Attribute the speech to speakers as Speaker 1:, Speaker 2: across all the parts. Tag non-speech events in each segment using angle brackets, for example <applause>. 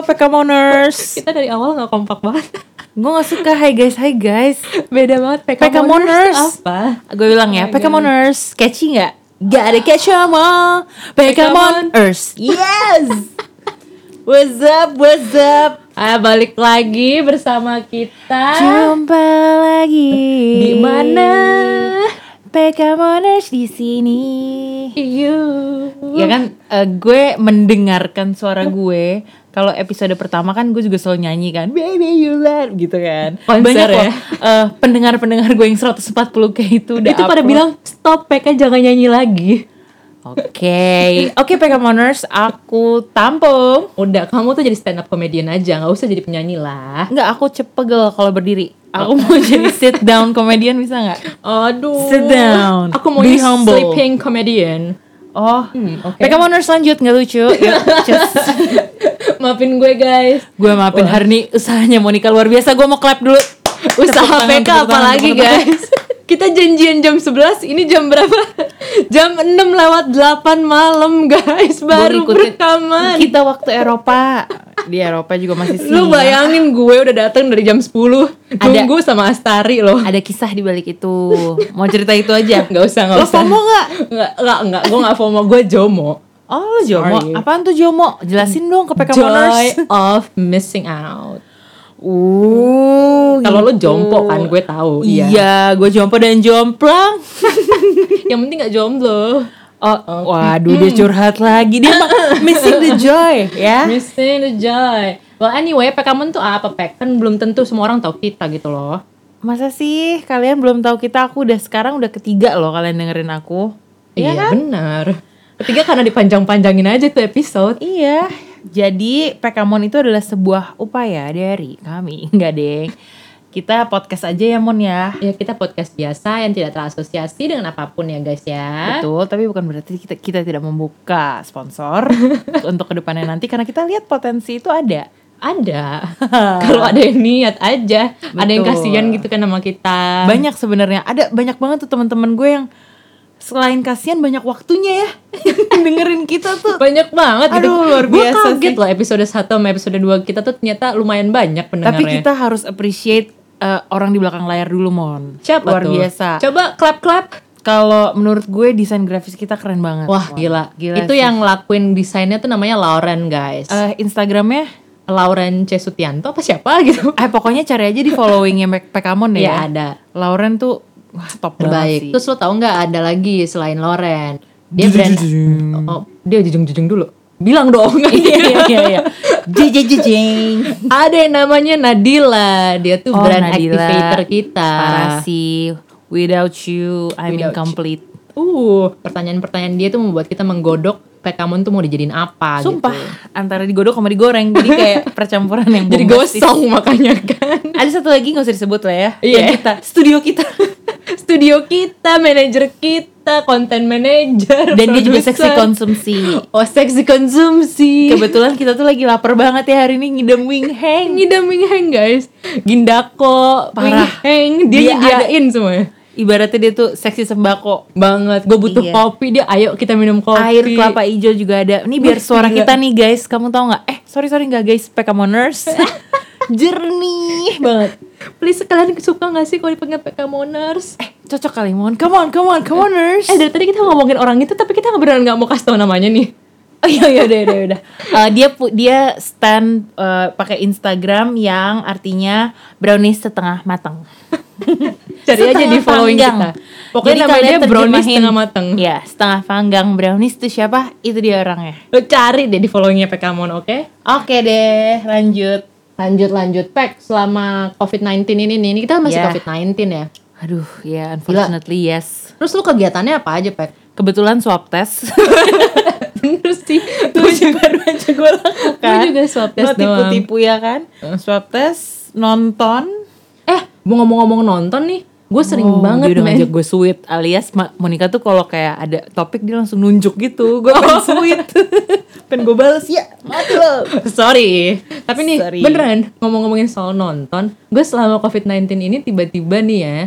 Speaker 1: PKmoners.
Speaker 2: Kita dari awal nggak kompak banget. <laughs>
Speaker 1: Gue gak suka, hi guys, hi guys.
Speaker 2: Beda banget PK,
Speaker 1: PK Moners.
Speaker 2: tuh apa?
Speaker 1: Gue bilang ya,
Speaker 2: Oh my
Speaker 1: PKmoners, catchy gak? Gotta catch 'em all, PKmoners. Yes! What's up, what's up?
Speaker 2: Ah, balik lagi bersama kita.
Speaker 1: Jumpa lagi.
Speaker 2: Di mana?
Speaker 1: PKmoners di sini.
Speaker 2: You.
Speaker 1: Ya kan, eh, gue mendengarkan suara gue. Kalau episode pertama kan gue juga selalu nyanyi kan, baby you love gitu kan.
Speaker 2: Konser
Speaker 1: Banyak
Speaker 2: ya?
Speaker 1: loh eh, pendengar-pendengar gue yang 140k itu udah
Speaker 2: Itu
Speaker 1: upload.
Speaker 2: pada bilang stop PK jangan nyanyi lagi.
Speaker 1: Oke, oke PKmoners, aku tampung.
Speaker 2: Udah, kamu tuh jadi stand up comedian aja, nggak usah jadi penyanyi lah.
Speaker 1: Enggak, aku cepegel kalau berdiri. Aku
Speaker 2: <laughs>
Speaker 1: mau jadi sit down comedian bisa nggak?
Speaker 2: Aduh.
Speaker 1: Sit down.
Speaker 2: Aku mau
Speaker 1: Be
Speaker 2: jadi
Speaker 1: humble.
Speaker 2: sleeping comedian. <laughs>
Speaker 1: Oh,
Speaker 2: Hmm, oke.
Speaker 1: PKmoners lanjut nggak lucu? Ya, Yuk, cus.
Speaker 2: Maafin gue guys.
Speaker 1: Gue maafin hari ini usahanya Monica luar biasa. Gue mau clap dulu. Tepuk tangan,
Speaker 2: Usaha PK
Speaker 1: tepuk tangan,
Speaker 2: apalagi
Speaker 1: tepuk tangan. <laughs>
Speaker 2: guys. <laughs> Kita janjian jam 11, ini jam berapa? <laughs> Jam 6 lewat 8 malam guys, baru
Speaker 1: ikutin.
Speaker 2: rekaman.
Speaker 1: Kita waktu Eropa. Di Eropa juga masih siang.
Speaker 2: Lu bayangin gue udah datang dari jam 10 Nunggu sama Astari loh
Speaker 1: Ada kisah di balik itu. Mau cerita itu
Speaker 2: <laughs>
Speaker 1: aja.
Speaker 2: Gak usah, gak
Speaker 1: Lo
Speaker 2: usah
Speaker 1: FOMO nggak?
Speaker 2: Nggak, nggak, nggak Gue nggak FOMO, gue JOMO
Speaker 1: Oh, lu Jomo.
Speaker 2: Sorry.
Speaker 1: Apaan tuh Jomo? Jelasin dong ke
Speaker 2: Joy
Speaker 1: PKmoners.
Speaker 2: of missing out
Speaker 1: Uh,
Speaker 2: Kalau lo
Speaker 1: gitu.
Speaker 2: jompo kan, gue tahu
Speaker 1: Iya, gue jompo dan jomplang.
Speaker 2: <laughs> Yang penting gak jomblo
Speaker 1: Oh, waduh dia curhat lagi. Dia
Speaker 2: <laughs>
Speaker 1: emang missing the joy, ya.
Speaker 2: Missing the joy Well anyway, pekamen tuh apa pek? Kan belum tentu semua orang tahu kita gitu loh
Speaker 1: Masa sih kalian belum tahu kita aku udah sekarang udah ketiga loh kalian dengerin aku.
Speaker 2: Iya
Speaker 1: kan?
Speaker 2: benar. Ketiga karena dipanjang-panjangin aja tuh episode
Speaker 1: Iya. Jadi Pekamon itu adalah sebuah upaya dari kami, <laughs> enggak deng. Kita podcast aja ya Mon ya.
Speaker 2: Ya kita podcast biasa yang tidak terasosiasi dengan apapun ya guys ya
Speaker 1: Betul, tapi bukan berarti kita kita tidak membuka sponsor untuk kedepannya nanti karena kita lihat potensi itu ada. <laughs>
Speaker 2: Ada. Kalau ada yang niat aja, ada yang
Speaker 1: Betul.
Speaker 2: kasihan gitu kan sama kita.
Speaker 1: banyak sebenarnya ada banyak banget tuh teman-teman gue yang selain kasihan banyak waktunya ya <laughs> dengerin kita tuh
Speaker 2: Banyak banget gitu.
Speaker 1: Aduh, luar
Speaker 2: Gua
Speaker 1: biasa
Speaker 2: kaget
Speaker 1: sih.
Speaker 2: loh episode 1 sama episode 2 kita tuh ternyata lumayan banyak pendengarnya.
Speaker 1: tapi kita harus appreciate eh, orang di belakang layar dulu mon
Speaker 2: Siapa
Speaker 1: luar
Speaker 2: tuh?
Speaker 1: biasa
Speaker 2: Coba clap-clap.
Speaker 1: kalau menurut gue desain grafis kita keren banget
Speaker 2: Wah, gila.
Speaker 1: gila
Speaker 2: Itu yang lakuin desainnya tuh namanya Lauren, guys.
Speaker 1: Eh, Instagramnya
Speaker 2: Lauren C. Sutianto apa siapa <laughs> gitu.
Speaker 1: eh pokoknya cari aja di followingnya Mac- Pekamon deh
Speaker 2: Iya,
Speaker 1: ya,
Speaker 2: ada.
Speaker 1: Lauren tuh wah top banget
Speaker 2: Terbaik.
Speaker 1: sih
Speaker 2: Terus lo tau nggak ada lagi selain Lauren? Dia brand Oh, dia jujung-jujung dulu. Bilang dong.
Speaker 1: <laughs> iya
Speaker 2: <laughs>
Speaker 1: iya iya jeng jeng jeng
Speaker 2: ada yang namanya Nadila. Dia tuh
Speaker 1: Oh,
Speaker 2: brand
Speaker 1: Nadila.
Speaker 2: activator kita.
Speaker 1: parah sih Ah. without you I'm
Speaker 2: Without you.
Speaker 1: incomplete
Speaker 2: Uh, pertanyaan-pertanyaan dia tuh membuat kita menggodok Pekamon tuh mau dijadiin apa
Speaker 1: Sumpah,
Speaker 2: gitu.
Speaker 1: antara digodok sama digoreng Jadi kayak percampuran yang
Speaker 2: Jadi
Speaker 1: bombastis.
Speaker 2: gosong makanya kan.
Speaker 1: Ada satu lagi gak usah disebut lah ya
Speaker 2: Iya.
Speaker 1: Dan kita, studio <laughs> kita
Speaker 2: Studio kita, manajer kita, konten manajer.
Speaker 1: Dan dia juga
Speaker 2: produser.
Speaker 1: seksi konsumsi
Speaker 2: Oh, seksi konsumsi.
Speaker 1: Kebetulan kita tuh lagi lapar banget ya hari ini ngidam wing hang
Speaker 2: Ngidam Wing Hang guys Gindako
Speaker 1: Parah.
Speaker 2: Wing Hang Dia,
Speaker 1: Dia
Speaker 2: nyediain semuanya
Speaker 1: Ibaratnya dia tuh seksi sembako
Speaker 2: Banget Gue butuh
Speaker 1: Iya.
Speaker 2: kopi Dia ayo kita minum kopi
Speaker 1: Air kelapa hijau juga ada Ini biar suara kita nih guys, kamu tahu gak? Eh sorry sorry gak guys, Pekamoners <laughs> Jernih banget
Speaker 2: Please kalian suka gak sih kalau dipanggil PK Moners
Speaker 1: Eh cocok kali mon, come on come on come oners
Speaker 2: Eh dari tadi kita ngomongin orang itu Tapi kita beneran gak mau kasih tau namanya nih
Speaker 1: Oh iya iya udah udah udah. Eh, dia pu- dia stand eh, pakai Instagram yang artinya brownies setengah matang.
Speaker 2: Cari aja
Speaker 1: Setengah
Speaker 2: di following
Speaker 1: panggang.
Speaker 2: kita Pokoknya
Speaker 1: Jadi
Speaker 2: namanya
Speaker 1: kalian
Speaker 2: dia brownies
Speaker 1: terjemahin.
Speaker 2: setengah mateng
Speaker 1: Iya, setengah panggang brownies itu siapa? Itu dia orangnya.
Speaker 2: Lo cari deh di followingnya PK Mon oke
Speaker 1: Oke deh, lanjut.
Speaker 2: Lanjut lanjut Pek selama COVID-19 ini nih Ini kita masih
Speaker 1: Ya.
Speaker 2: COVID-19 ya
Speaker 1: Aduh, ya unfortunately yes.
Speaker 2: Terus lu kegiatannya apa aja Pek? <laughs>
Speaker 1: Kebetulan swab <laughs> test.
Speaker 2: Bener sih
Speaker 1: Itu juga baru aja gue lakukan.
Speaker 2: Gua juga swab test
Speaker 1: Lo tipu-tipu ya kan? Swab test, nonton.
Speaker 2: Eh, mau ngomong-ngomong nonton nih, gue sering
Speaker 1: Oh, dia
Speaker 2: banget
Speaker 1: udah
Speaker 2: men.
Speaker 1: ngajak gue sweet alias Ma- Monica tuh kalau kayak ada topik dia langsung nunjuk gitu gue <laughs> pengen sweet pengen gue bales ya mati lo
Speaker 2: <laughs> Sorry, tapi nih
Speaker 1: Sorry.
Speaker 2: beneran ngomong-ngomongin soal nonton, gue selama COVID-19 ini tiba-tiba nih ya,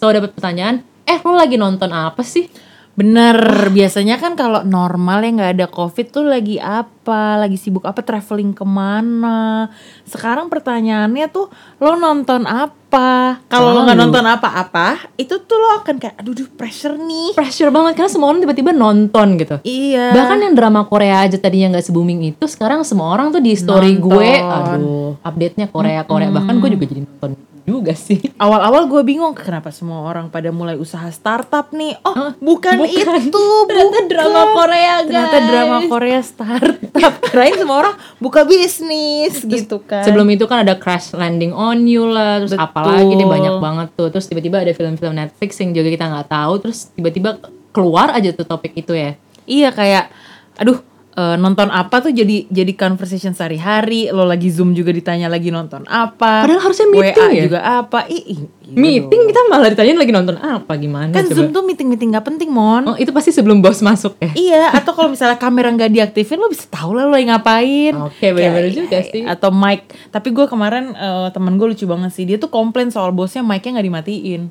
Speaker 2: selalu dapat pertanyaan, eh lo lagi nonton apa sih?
Speaker 1: Bener, biasanya kan kalau normal yang nggak ada covid tuh lagi apa, lagi sibuk apa, traveling kemana. Sekarang pertanyaannya tuh lo nonton apa? Kalau lo nggak
Speaker 2: Selalu.
Speaker 1: nonton apa-apa, itu tuh lo akan kayak, aduh, duh, pressure nih.
Speaker 2: Pressure banget karena semua orang tiba-tiba nonton gitu.
Speaker 1: Iya.
Speaker 2: Bahkan yang drama Korea aja tadinya nggak se-booming itu sekarang semua orang tuh di story
Speaker 1: Nonton.
Speaker 2: gue aduh update-nya Korea Korea bahkan gue juga jadi nonton juga sih.
Speaker 1: Awal-awal gue bingung kenapa semua orang pada mulai usaha startup nih. Oh, bukan, itu.
Speaker 2: Ternyata
Speaker 1: Oh, bukan.
Speaker 2: drama Korea,
Speaker 1: <laughs> Ternyata
Speaker 2: guys.
Speaker 1: drama Korea startup. <laughs> Kirain semua orang buka bisnis gitu kan.
Speaker 2: Sebelum itu kan ada Crash Landing on You lah, terus
Speaker 1: Betul.
Speaker 2: apalagi deh banyak banget tuh. Terus tiba-tiba ada film-film Netflix yang juga kita nggak tahu, terus tiba-tiba keluar aja tuh topik itu ya.
Speaker 1: Iya kayak aduh eh, nonton apa tuh jadi jadi conversation sehari-hari lo lagi zoom juga ditanya lagi nonton apa
Speaker 2: Padahal harusnya meeting
Speaker 1: WA
Speaker 2: ya?
Speaker 1: juga apa Ih, ih, iya
Speaker 2: Meeting kita malah ditanyain lagi nonton apa gimana
Speaker 1: dong. kan
Speaker 2: coba.
Speaker 1: zoom tuh meeting meeting nggak penting mon
Speaker 2: Oh, itu pasti sebelum bos masuk ya.
Speaker 1: iya atau kalau misalnya kamera nggak diaktifin lo bisa tahu lah lo lagi ngapain
Speaker 2: Oke, bener-bener
Speaker 1: Kayak,
Speaker 2: juga
Speaker 1: eh,
Speaker 2: sih.
Speaker 1: atau mic tapi gue kemarin eh, temen gue lucu banget sih dia tuh komplain soal bosnya mic-nya nggak dimatiin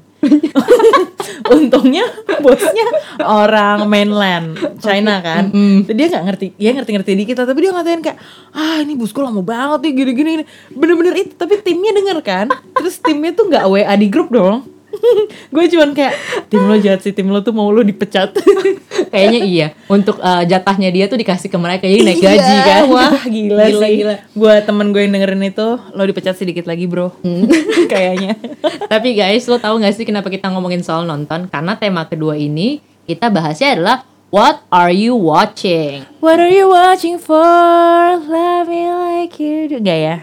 Speaker 1: untungnya bosnya orang mainland China kan Jadi dia nggak ngerti dia ngerti ngerti dikit tapi dia ngatain kayak ah ini bosku lama banget nih gini gini gini." bener-bener itu tapi timnya denger kan terus timnya tuh nggak wa di grup dong <laughs> gue cuman kayak tim lo jahat sih tim lo tuh mau lo dipecat <laughs>
Speaker 2: Kayaknya iya. Untuk eh, jatahnya dia tuh dikasih ke mereka jadi naik
Speaker 1: Iya,
Speaker 2: gaji kan. <laughs>
Speaker 1: Wah <laughs> gila,
Speaker 2: Gila,
Speaker 1: sih
Speaker 2: gila.
Speaker 1: Buat temen gue yang dengerin itu Lo dipecat sedikit lagi bro <laughs> Kayaknya
Speaker 2: Tapi guys, lo tahu gak sih kenapa kita ngomongin soal nonton? Karena tema kedua ini kita bahasnya adalah What are you watching?
Speaker 1: What are you watching for? Love me like you do Gak ya?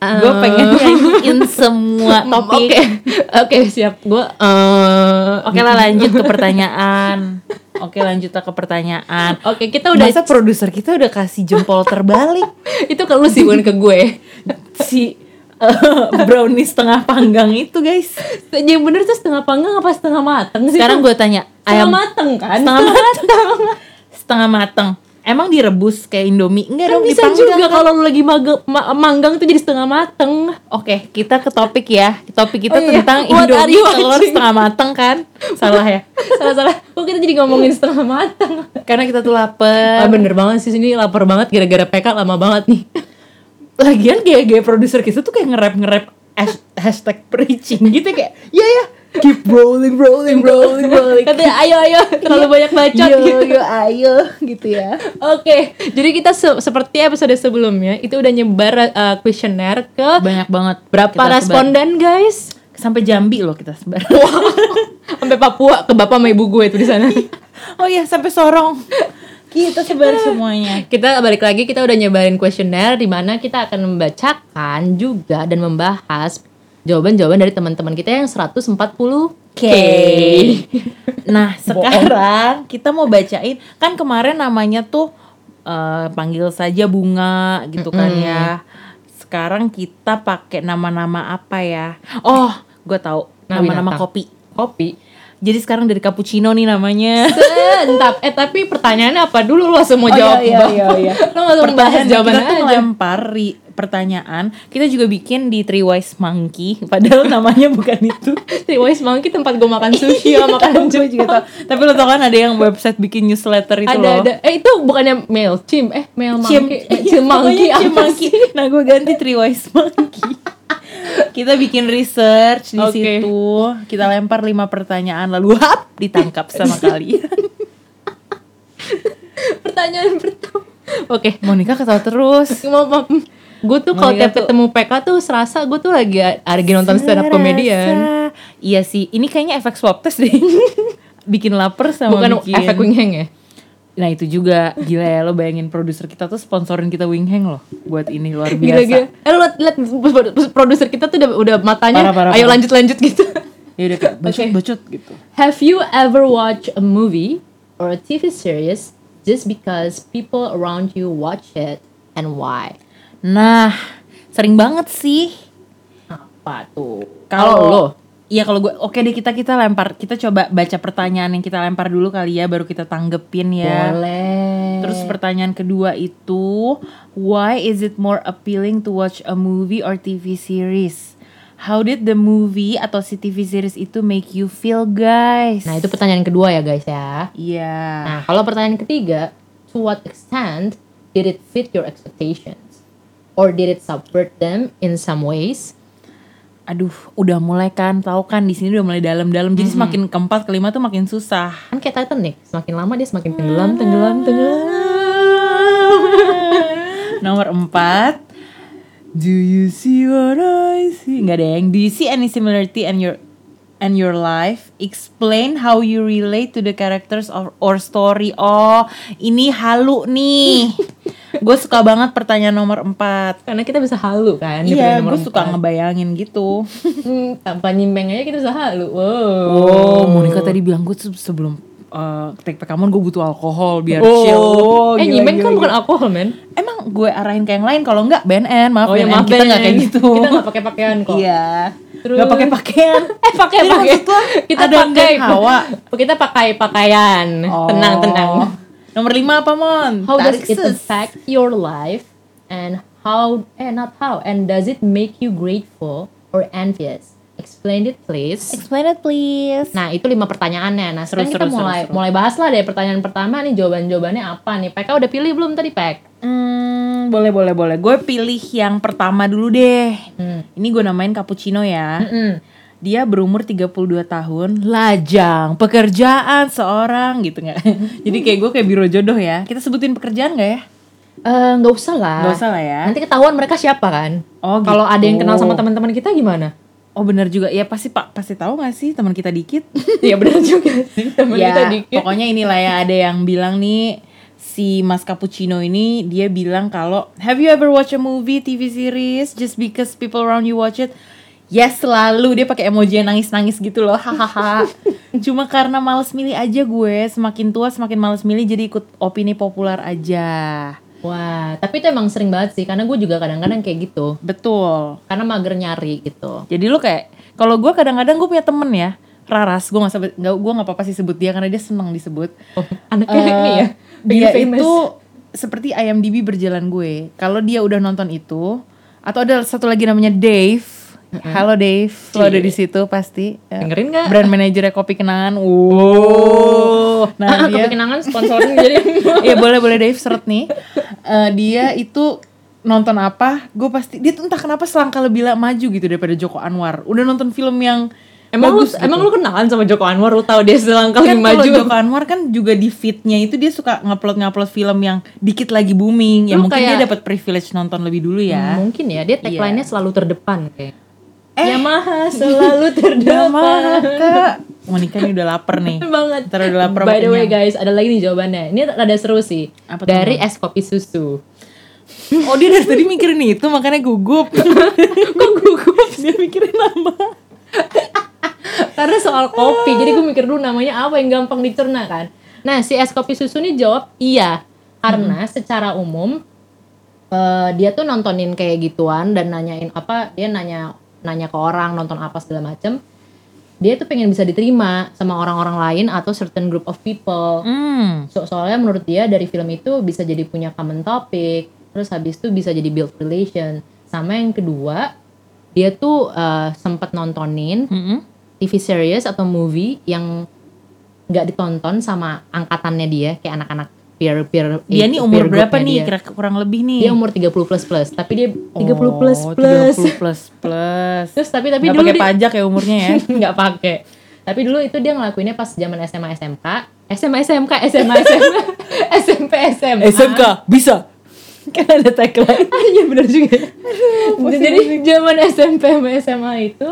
Speaker 1: Gue <laughs> pengen nyanyiin <laughs> semua
Speaker 2: Oke,
Speaker 1: topik
Speaker 2: <laughs> oke siap. Gue
Speaker 1: Eh, Oke lah lanjut <laughs> ke pertanyaan Oke lanjut lah ke pertanyaan
Speaker 2: Oke, kita udah
Speaker 1: Masa produser kita udah kasih jempol terbalik
Speaker 2: itu ke lu sih bukan ke gue.
Speaker 1: <laughs>
Speaker 2: <laughs>
Speaker 1: Si eh, brownies tengah panggang itu guys
Speaker 2: Yang bener tuh setengah panggang apa setengah mateng sih?
Speaker 1: Sekarang gue tanya
Speaker 2: setengah
Speaker 1: Ayam
Speaker 2: mateng kan?
Speaker 1: Setengah matang. Setengah matang. Emang direbus kayak Indomie? Enggak
Speaker 2: Kan
Speaker 1: dong,
Speaker 2: bisa
Speaker 1: dipanggang.
Speaker 2: juga kalau lu lagi mage- ma- manggang tuh jadi setengah <laughs> mateng.
Speaker 1: Oke, kita ke topik ya. Topik kita
Speaker 2: Oh iya.
Speaker 1: tentang
Speaker 2: What are
Speaker 1: Indomie
Speaker 2: you
Speaker 1: telur
Speaker 2: watching?
Speaker 1: setengah matang kan? Salah ya.
Speaker 2: Salah-salah. Kok kita jadi ngomongin setengah mateng?
Speaker 1: Karena kita tuh lapar.
Speaker 2: Ah, bener banget sih sini lapar banget gara-gara PK lama banget nih.
Speaker 1: Lagian gaya-gaya produser kita tuh kayak nge-rap nge-rap hash- hashtag preaching gitu kayak ya ya keep rolling rolling rolling rolling Kan
Speaker 2: <laughs> Katanya ayo ayo terlalu banyak bacot
Speaker 1: yo,
Speaker 2: gitu.
Speaker 1: yo ayo gitu ya
Speaker 2: Oke, jadi kita se- seperti episode sebelumnya itu udah nyebar eh, questionnaire ke
Speaker 1: banyak banget
Speaker 2: berapa responden
Speaker 1: <laughs>
Speaker 2: guys?
Speaker 1: sampai Jambi loh kita sebar
Speaker 2: Sampai Papua ke bapak sama ibu gue itu di sana.
Speaker 1: oh iya sampai Sorong kita sebar semuanya
Speaker 2: <laughs> kita balik lagi kita udah nyebarin kuesioner di mana kita akan membacakan juga dan membahas jawaban-jawaban dari teman-teman kita yang 140
Speaker 1: Oke. <laughs> Nah, sekarang kita mau bacain kan kemarin namanya tuh eh, panggil saja bunga gitu kan ya. Sekarang kita pakai nama-nama apa ya? Oh, gue tahu.
Speaker 2: Nah,
Speaker 1: Nama-nama
Speaker 2: binatang.
Speaker 1: kopi.
Speaker 2: Kopi.
Speaker 1: Jadi sekarang dari cappuccino nih namanya.
Speaker 2: Entap, eh tapi pertanyaannya apa dulu lo langsung
Speaker 1: Oh,
Speaker 2: mau
Speaker 1: iya,
Speaker 2: jawab?
Speaker 1: iya,
Speaker 2: Bang.
Speaker 1: iya, iya.
Speaker 2: <laughs> Lo langsung
Speaker 1: <laughs>
Speaker 2: bahas
Speaker 1: Pertanyaan
Speaker 2: jawaban
Speaker 1: kita tuh
Speaker 2: aja.
Speaker 1: ngelempar ri- pertanyaan. Kita juga bikin di Three Wise Monkey padahal <laughs> namanya bukan itu.
Speaker 2: Three Wise Monkey tempat gue makan sushi
Speaker 1: Iya,
Speaker 2: sama makan
Speaker 1: gue juga tahu. Tapi lo tau kan ada yang website bikin newsletter itu
Speaker 2: ada
Speaker 1: loh.
Speaker 2: ada eh itu bukannya male chim eh male
Speaker 1: Cim,
Speaker 2: monkey Eh, <laughs> chim monkey
Speaker 1: Pokoknya Cim
Speaker 2: apa
Speaker 1: Monkey.
Speaker 2: sih?
Speaker 1: Nah, gue ganti Three Wise Monkey. <laughs> kita bikin research di
Speaker 2: Oke.
Speaker 1: situ. Kita lempar lima pertanyaan lalu hap ditangkap sama kali.
Speaker 2: pertanyaan pertama <laughs> <laughs> oke
Speaker 1: Monica ketawa
Speaker 2: <laughs>
Speaker 1: terus.
Speaker 2: mau gue tuh kalau
Speaker 1: Monica
Speaker 2: tiap ketemu PK tuh serasa gue tuh lagi lagi nonton ya. stand up comedian
Speaker 1: Serasa. Iya sih, ini kayaknya efek swab test deh. <laughs> bikin lapar sama
Speaker 2: bukan
Speaker 1: bikin.
Speaker 2: efek wing hang ya
Speaker 1: Nah, itu juga gila ya lo bayangin produser kita tuh sponsorin kita Winghang loh buat ini luar biasa.
Speaker 2: gila gila eh lu liat, liat produser kita tuh udah, udah matanya
Speaker 1: Parah, parah,
Speaker 2: ayo
Speaker 1: parah.
Speaker 2: lanjut lanjut gitu
Speaker 1: Ya udah kayak bacot bacot gitu.
Speaker 2: <laughs> Have you ever watched a movie or a TV series just because people around you watch it and why?
Speaker 1: Nah, sering banget sih.
Speaker 2: Apa tuh?
Speaker 1: Kalau
Speaker 2: lo
Speaker 1: lo, iya kalau gue, oke deh kita kita lempar, kita coba baca pertanyaan yang kita lempar dulu kali ya, baru kita tanggepin ya.
Speaker 2: boleh.
Speaker 1: Terus pertanyaan kedua itu, why is it more appealing to watch a movie or TV series?
Speaker 3: How did the movie atau si TV series itu make you feel, guys?
Speaker 2: Nah, itu pertanyaan kedua ya, guys ya.
Speaker 3: Iya.
Speaker 2: Nah, kalau pertanyaan ketiga, to what extent did it fit your expectations? Or did it subvert them in some ways?
Speaker 1: Aduh, udah mulai kan, tahu kan di sini udah mulai dalam-dalam. Jadi semakin keempat kelima tuh makin susah.
Speaker 2: Kan kayak Titanic, semakin lama dia semakin tenggelam, tenggelam, tenggelam.
Speaker 1: <laughs> Nomor empat Do you see what I see? Enggak deng. Do you see any similarity in your and your life? Explain how you relate to the characters or, or story. Oh, ini halu
Speaker 2: <laughs>
Speaker 1: nih. gue suka banget pertanyaan nomor empat
Speaker 2: Karena kita bisa halu kan di
Speaker 1: Iya,
Speaker 2: pertanyaan nomor
Speaker 1: gue suka
Speaker 2: empat.
Speaker 1: ngebayangin gitu.
Speaker 2: Hmm, tanpa nyimeng aja kita bisa halu. Wow.
Speaker 1: Oh, Monica tadi bilang gue se- sebelum uh, take rekaman gue butuh alkohol biar
Speaker 2: Oh.
Speaker 1: chill.
Speaker 2: eh,
Speaker 1: Gila,
Speaker 2: nyimeng
Speaker 1: gila,
Speaker 2: kan
Speaker 1: gila.
Speaker 2: bukan alkohol, men.
Speaker 1: Emang gue arahin ke yang lain kalau enggak BNN, maaf
Speaker 2: Oh, ya
Speaker 1: BNN
Speaker 2: maaf
Speaker 1: kita enggak
Speaker 2: Ben.
Speaker 1: kayak gitu.
Speaker 2: Kita enggak pakai pakaian kok.
Speaker 1: <laughs> Iya.
Speaker 2: Terus-
Speaker 1: Enggak pakai pakaian.
Speaker 2: Eh, pakai
Speaker 1: Jadi
Speaker 2: pakai.
Speaker 1: maksud lo
Speaker 2: Kita
Speaker 1: ada yang
Speaker 2: pakai
Speaker 1: kayak hawa?
Speaker 2: <laughs> Kita pakai pakaian. Tenang, tenang.
Speaker 1: <laughs> Oh. Nomor lima apa, Mon?
Speaker 2: How does
Speaker 1: Tarik
Speaker 2: it
Speaker 1: sus.
Speaker 2: affect your life and how eh not how and does it make you grateful or envious? Explain it please.
Speaker 3: Explain it please.
Speaker 2: Nah, itu lima pertanyaannya. Nah, sekarang
Speaker 1: Seru,
Speaker 2: kita
Speaker 1: seru, seru,
Speaker 2: mulai
Speaker 1: seru.
Speaker 2: mulai bahas lah deh pertanyaan pertama nih jawaban-jawabannya apa nih. PK udah pilih belum tadi, Pek?
Speaker 1: Hmm, boleh boleh boleh. Gue pilih yang pertama dulu deh.
Speaker 2: Hmm.
Speaker 1: Ini gue namain cappuccino ya.
Speaker 2: Mm-mm.
Speaker 1: Dia berumur 32 tahun, lajang, pekerjaan seorang gitu nggak? <laughs> Jadi kayak gue kayak biro jodoh ya. Kita sebutin pekerjaan nggak ya?
Speaker 2: Eh, nggak usah lah.
Speaker 1: Nggak usah lah ya.
Speaker 2: Nanti ketahuan mereka siapa kan?
Speaker 1: Oh,
Speaker 2: Kalau
Speaker 1: gitu.
Speaker 2: ada yang kenal sama teman-teman kita
Speaker 1: <laughs>
Speaker 2: gimana?
Speaker 1: Oh bener juga. Ya pasti Pak, pasti tahu nggak sih teman kita dikit?
Speaker 2: Iya benar juga sih <laughs> teman
Speaker 1: ya,
Speaker 2: kita dikit.
Speaker 1: Pokoknya inilah ya ada yang bilang nih si Mas Cappuccino ini dia bilang kalau have you ever watch a movie TV series just because people around you watch it? Yes selalu dia pakai emoji yang nangis-nangis gitu loh.
Speaker 2: <laughs>
Speaker 1: Hahaha. Cuma karena males milih aja gue, semakin tua semakin males milih jadi ikut opini populer aja.
Speaker 2: Wah, tapi itu emang sering banget sih karena gue juga kadang-kadang kayak gitu.
Speaker 1: Betul.
Speaker 2: Karena mager nyari gitu.
Speaker 1: Jadi lu kayak kalau gue kadang-kadang gue punya temen ya, Raras, gue gak, sebut, gak, gue gak apa-apa sih sebut dia karena dia seneng disebut.
Speaker 2: Anaknya
Speaker 1: Eh,
Speaker 2: <laughs> ini ya.
Speaker 1: dia
Speaker 2: pengen famous.
Speaker 1: itu seperti IMDb berjalan gue kalau dia udah nonton itu atau ada satu lagi namanya Dave halo Dave lo ada
Speaker 2: Iya.
Speaker 1: di situ pasti Ya.
Speaker 2: dengerin nggak?
Speaker 1: brand manajernya kopi kenangan
Speaker 2: Oh.
Speaker 1: wow nah
Speaker 2: Ah, <laughs>
Speaker 1: dia
Speaker 2: kepikenangan sponsorin <laughs> jadi.
Speaker 1: Iya boleh boleh Dave seret nih Eh, dia itu nonton apa gue pasti dia tuh entah kenapa selangkah lebih la- maju gitu daripada Joko Anwar udah nonton film yang
Speaker 2: Emang lu,
Speaker 1: bagus gitu.
Speaker 2: emang lu kenalan sama Joko Anwar, lu tahu dia selangkah
Speaker 1: kan
Speaker 2: lebih
Speaker 1: kalau
Speaker 2: maju.
Speaker 1: Joko Anwar kan juga di fitnya itu dia suka ngupload ngupload film yang dikit lagi booming ya
Speaker 2: Lu
Speaker 1: mungkin
Speaker 2: kayak-
Speaker 1: dia dapat privilege nonton lebih dulu
Speaker 2: Hmm,
Speaker 1: ya
Speaker 2: Mungkin ya, dia tagline-nya selalu terdepan kayak.
Speaker 1: Eh.
Speaker 2: <laughs> Yamaha selalu
Speaker 1: Drama
Speaker 2: terdepan.
Speaker 1: kak Monika ini udah lapar
Speaker 2: <laughs>
Speaker 1: nih
Speaker 2: banget.
Speaker 1: Ntar udah lapar
Speaker 2: By the way
Speaker 1: makanya.
Speaker 2: guys, ada lagi nih jawabannya. Ini rada seru sih.
Speaker 1: Apa tuh,
Speaker 2: Dari es kopi susu.
Speaker 1: oh dia dari tadi mikirin itu makanya gugup kok gugup dia mikirin nama
Speaker 2: Karena soal kopi, jadi gue mikir dulu namanya apa yang gampang dicerna kan. Nah, si es kopi susu nih jawab iya. Karena secara umum eh, dia tuh nontonin kayak gituan dan nanyain apa, dia nanya nanya ke orang nonton apa segala macem. Dia tuh pengen bisa diterima sama orang-orang lain atau certain group of people.
Speaker 1: hmm
Speaker 2: So- soalnya menurut dia dari film itu bisa jadi punya common topic, terus habis itu bisa jadi build relation. Sama yang kedua, dia tuh eh, sempat nontonin
Speaker 1: Mm-mm.
Speaker 2: TV series atau movie yang nggak ditonton sama angkatannya dia kayak anak-anak peer peer
Speaker 1: dia
Speaker 2: eh,
Speaker 1: nih
Speaker 2: peer
Speaker 1: umur
Speaker 2: groupnya
Speaker 1: berapa nih
Speaker 2: dia.
Speaker 1: kira kurang lebih nih
Speaker 2: dia umur 30 plus plus tapi dia 30
Speaker 1: Oh,
Speaker 2: plus plus
Speaker 1: 30 plus plus
Speaker 2: <laughs> terus tapi <laughs> tapi
Speaker 1: nggak
Speaker 2: dulu
Speaker 1: pakai
Speaker 2: dia-
Speaker 1: pajak ya umurnya ya
Speaker 2: <laughs> nggak pakai tapi dulu itu dia ngelakuinnya pas zaman SMA SMK SMA SMK SMA
Speaker 1: <laughs>
Speaker 2: SMA SMP SMA
Speaker 1: bisa <laughs> kan ada tagline
Speaker 2: Ah, <laughs> iya benar juga jadi zaman SMP sama SMA itu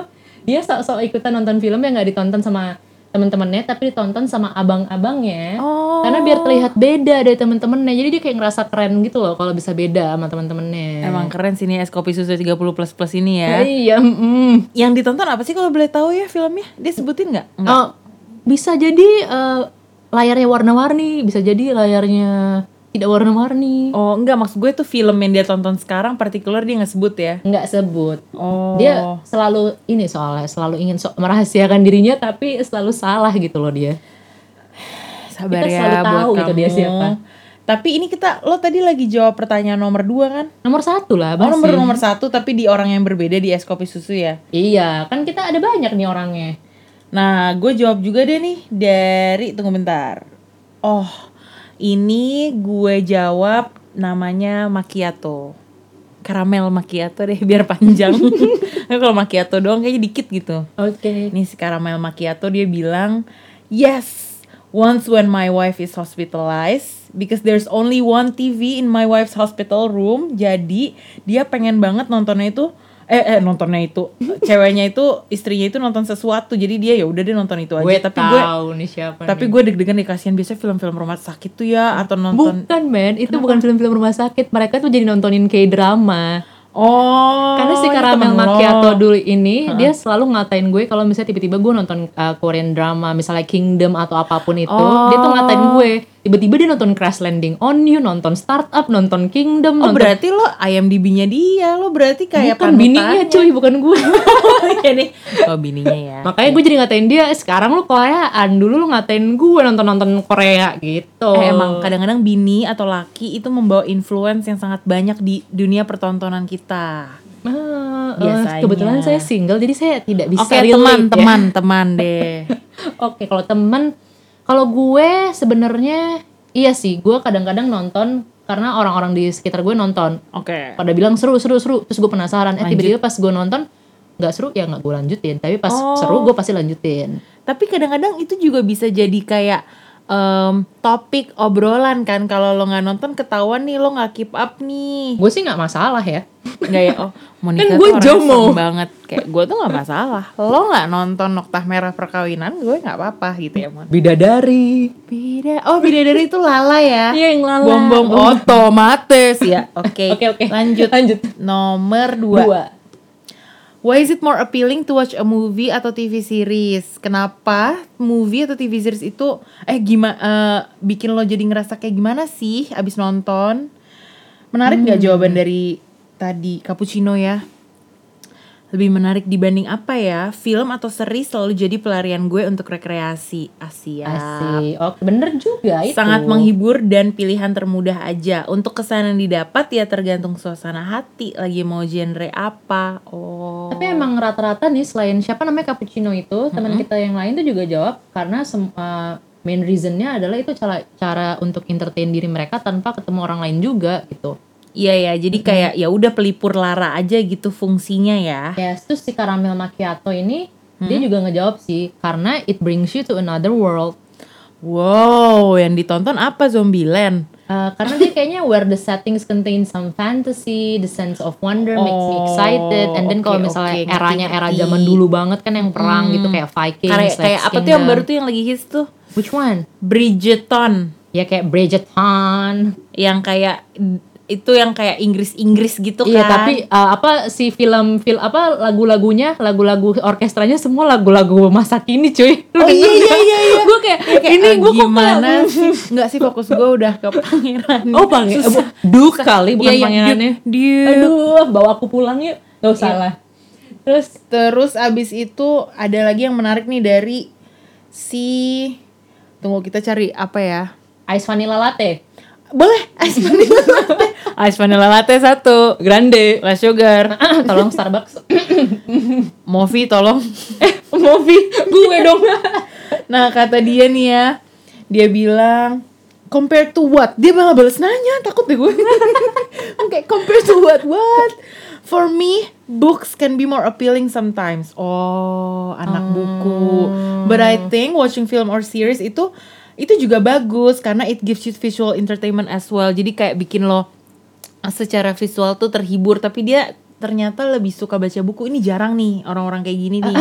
Speaker 2: dia sok-sok ikutan nonton film yang nggak ditonton sama teman-temannya tapi ditonton sama abang-abangnya
Speaker 1: Oh.
Speaker 2: karena biar terlihat beda dari teman-temannya jadi dia kayak ngerasa keren gitu loh kalau bisa beda sama teman-temannya
Speaker 1: Emang keren sih nih es kopi susu 30 plus plus ini ya.
Speaker 2: Ah, iya mm.
Speaker 1: Hmm, Yang ditonton apa sih kalau boleh tahu ya filmnya? Dia sebutin nggak? Nggak.
Speaker 2: Oh, bisa jadi eh, layarnya warna-warni, bisa jadi layarnya tidak warna-warni.
Speaker 1: Oh enggak maksud gue itu film yang dia tonton sekarang partikular dia nggak sebut ya.
Speaker 2: Nggak sebut.
Speaker 1: Oh.
Speaker 2: Dia selalu ini soalnya selalu ingin so- merahasiakan dirinya tapi selalu salah gitu loh dia.
Speaker 1: sabar
Speaker 2: kita
Speaker 1: ya
Speaker 2: selalu tahu
Speaker 1: buat
Speaker 2: gitu
Speaker 1: kamu.
Speaker 2: dia siapa.
Speaker 1: Tapi ini kita lo tadi lagi jawab pertanyaan nomor dua kan?
Speaker 2: Nomor satu lah
Speaker 1: Oh,
Speaker 2: bahasnya.
Speaker 1: nomor nomor satu tapi di orang yang berbeda di es kopi susu ya.
Speaker 2: Iya, kan kita ada banyak nih orangnya.
Speaker 1: Nah, gue jawab juga deh nih dari tunggu bentar. Oh, ini gue jawab namanya macchiato. Karamel macchiato deh biar panjang. Kalau macchiato doang kayaknya dikit gitu.
Speaker 2: Oke.
Speaker 1: Ini si Karamel Macchiato dia bilang, "Yes, once when my wife is hospitalized because there's only one TV in my wife's hospital room, jadi dia pengen banget nontonnya itu eh eh nontonnya
Speaker 2: <laughs>
Speaker 1: itu ceweknya itu istrinya itu nonton sesuatu jadi dia ya udah deh nonton itu aja
Speaker 2: Gue
Speaker 1: tapi gue
Speaker 2: tahu nih siapa
Speaker 1: tapi
Speaker 2: nih.
Speaker 1: gue deg-degan nih kasihan biasanya film-film rumah sakit tuh ya atau nonton
Speaker 2: bukan men, itu bukan film-film rumah sakit. Mereka tuh jadi nontonin K-drama.
Speaker 1: oh
Speaker 2: Karena si
Speaker 1: ini
Speaker 2: Karamel
Speaker 1: temen lo.
Speaker 2: Macchiato dulu ini dia selalu ngatain gue kalau misalnya tiba-tiba gue nonton uh, Korean drama misalnya Kingdom atau apapun itu, dia tuh ngatain
Speaker 1: Oh.
Speaker 2: gue. Tiba-tiba dia nonton Crash Landing on You, nonton Startup, nonton
Speaker 1: oh
Speaker 2: Kingdom,
Speaker 1: ya,
Speaker 2: nonton
Speaker 1: berarti lo IMDb-nya dia lo berarti kayak
Speaker 2: bukan
Speaker 1: <laughs>
Speaker 2: bininya
Speaker 1: panutannya.
Speaker 2: cuy, bukan gue.
Speaker 1: Iya nih. oh bininya ya
Speaker 2: Makanya gue jadi ngatain dia, "Eh, sekarang lu koreaan, dulu lu ngatain gue nonton-nonton Korea gitu.
Speaker 1: Eh, emang kadang-kadang bini atau laki itu membawa influence yang sangat banyak di dunia pertontonan kita.
Speaker 2: Ah, eh,
Speaker 1: Biasanya.
Speaker 2: kebetulan saya single jadi saya tidak bisa
Speaker 1: Oke
Speaker 2: relate ya.
Speaker 1: teman-teman <laughs> teman deh.
Speaker 2: <laughs> Oke, kalau temen, kalau gue sebenarnya iya sih, gue kadang-kadang nonton karena orang-orang di sekitar gue nonton.
Speaker 1: Oke.
Speaker 2: Pada bilang seru, seru, seru. Terus gue penasaran. Eh tiba-tiba pas gue nonton nggak seru ya nggak gue lanjutin. Tapi pas
Speaker 1: Oh.
Speaker 2: seru gue pasti lanjutin.
Speaker 1: Tapi kadang-kadang itu juga bisa jadi kayak em, topik obrolan kan kalau lo nggak nonton ketahuan nih lo nggak keep up nih.
Speaker 2: Gue sih nggak masalah ya.
Speaker 1: Nggak ya oh Monica
Speaker 2: gue
Speaker 1: tuh orangnya
Speaker 2: jomo.
Speaker 1: serem banget kayak gue tuh nggak masalah. Lo nggak nonton Noktah Merah Perkawinan gue nggak apa-apa gitu ya Mon.
Speaker 2: Bidadari.
Speaker 1: Beda oh beda dari itu Lala ya.
Speaker 2: Iya yang lala.
Speaker 1: Bom bom otomatis ya. Oke.
Speaker 2: Oke oke.
Speaker 1: Lanjut.
Speaker 2: Lanjut.
Speaker 1: Nomor dua.
Speaker 2: Dua.
Speaker 1: Why is it more appealing to watch a movie atau TV series? Kenapa movie atau TV series itu eh gimana bikin lo jadi ngerasa kayak gimana sih abis nonton? Menarik nggak jawaban dari tadi cappuccino ya? Lebih menarik dibanding apa ya? Film atau series selalu jadi pelarian gue untuk rekreasi. Asia.
Speaker 2: Asik. Oke, bener juga itu.
Speaker 1: Sangat menghibur dan pilihan termudah aja. Untuk kesan yang didapat ya tergantung suasana hati lagi mau genre apa. Oh.
Speaker 2: Tapi emang rata-rata nih selain siapa namanya cappuccino itu teman kita yang lain tuh juga jawab karena sem- eh, main reasonnya adalah itu cara cara untuk entertain diri mereka tanpa ketemu orang lain juga gitu.
Speaker 1: Iya ya, jadi kayak ya udah pelipur lara aja gitu fungsinya ya.
Speaker 2: Ya terus si karamel macchiato ini dia juga ngejawab sih karena it brings you to another world.
Speaker 1: Wow, yang ditonton apa Zombieland?
Speaker 2: Eh, karena dia kayaknya where the settings contain some fantasy, the sense of wonder makes me excited, and then
Speaker 1: Oh,
Speaker 2: kalau
Speaker 1: oke,
Speaker 2: misalnya
Speaker 1: oke,
Speaker 2: eranya era
Speaker 1: ngerti,
Speaker 2: zaman
Speaker 1: ngerti.
Speaker 2: dulu banget kan yang perang gitu kayak Vikings,
Speaker 1: Kayak
Speaker 2: Slaves
Speaker 1: kayak apa tuh yang
Speaker 2: Kingdom.
Speaker 1: baru tuh yang lagi hits tuh?
Speaker 2: Which one?
Speaker 1: Bridgerton.
Speaker 2: Ya kayak Bridgerton.
Speaker 1: Yang kayak itu yang kayak Inggris-Inggris gitu kan.
Speaker 2: Iya tapi uh, apa si film film apa lagu-lagunya lagu-lagu orkestranya semua lagu-lagu masa kini cuy. Lu
Speaker 1: Oh,
Speaker 2: denger
Speaker 1: iya,
Speaker 2: nggak?
Speaker 1: iya, iya.
Speaker 2: Gue kayak, ini gue kok
Speaker 1: gimana sih? <laughs> Enggak sih fokus gue udah ke pangeran.
Speaker 2: Oh bang, eh, bu- Duke kali bukan
Speaker 1: Iya, iya,
Speaker 2: pangerannya.
Speaker 1: Duke, Duke.
Speaker 2: Aduh bawa aku pulang yuk. Gak usah
Speaker 1: Iya.
Speaker 2: lah. Terus
Speaker 1: Terus abis itu ada lagi yang menarik nih dari si tunggu kita cari apa ya?
Speaker 2: ice vanilla latte. <laughs>
Speaker 1: Boleh ice vanilla latte. ice vanilla latte satu.
Speaker 2: Grande.
Speaker 1: Less sugar.
Speaker 2: Tolong Starbucks.
Speaker 1: <laughs> Movi tolong.
Speaker 2: Movie gue dong. <laughs>
Speaker 1: Nah kata dia nih ya, dia bilang compare to what? Dia malah balas nanya, takut deh gue. <laughs> Oke, compare to what? What? For me, books can be more appealing sometimes. Oh, anak buku. But I think watching film or series itu itu juga bagus karena it gives you visual entertainment as well. Jadi kayak bikin lo secara visual tuh terhibur tapi dia ternyata lebih suka baca buku. Ini jarang nih orang-orang kayak gini nih.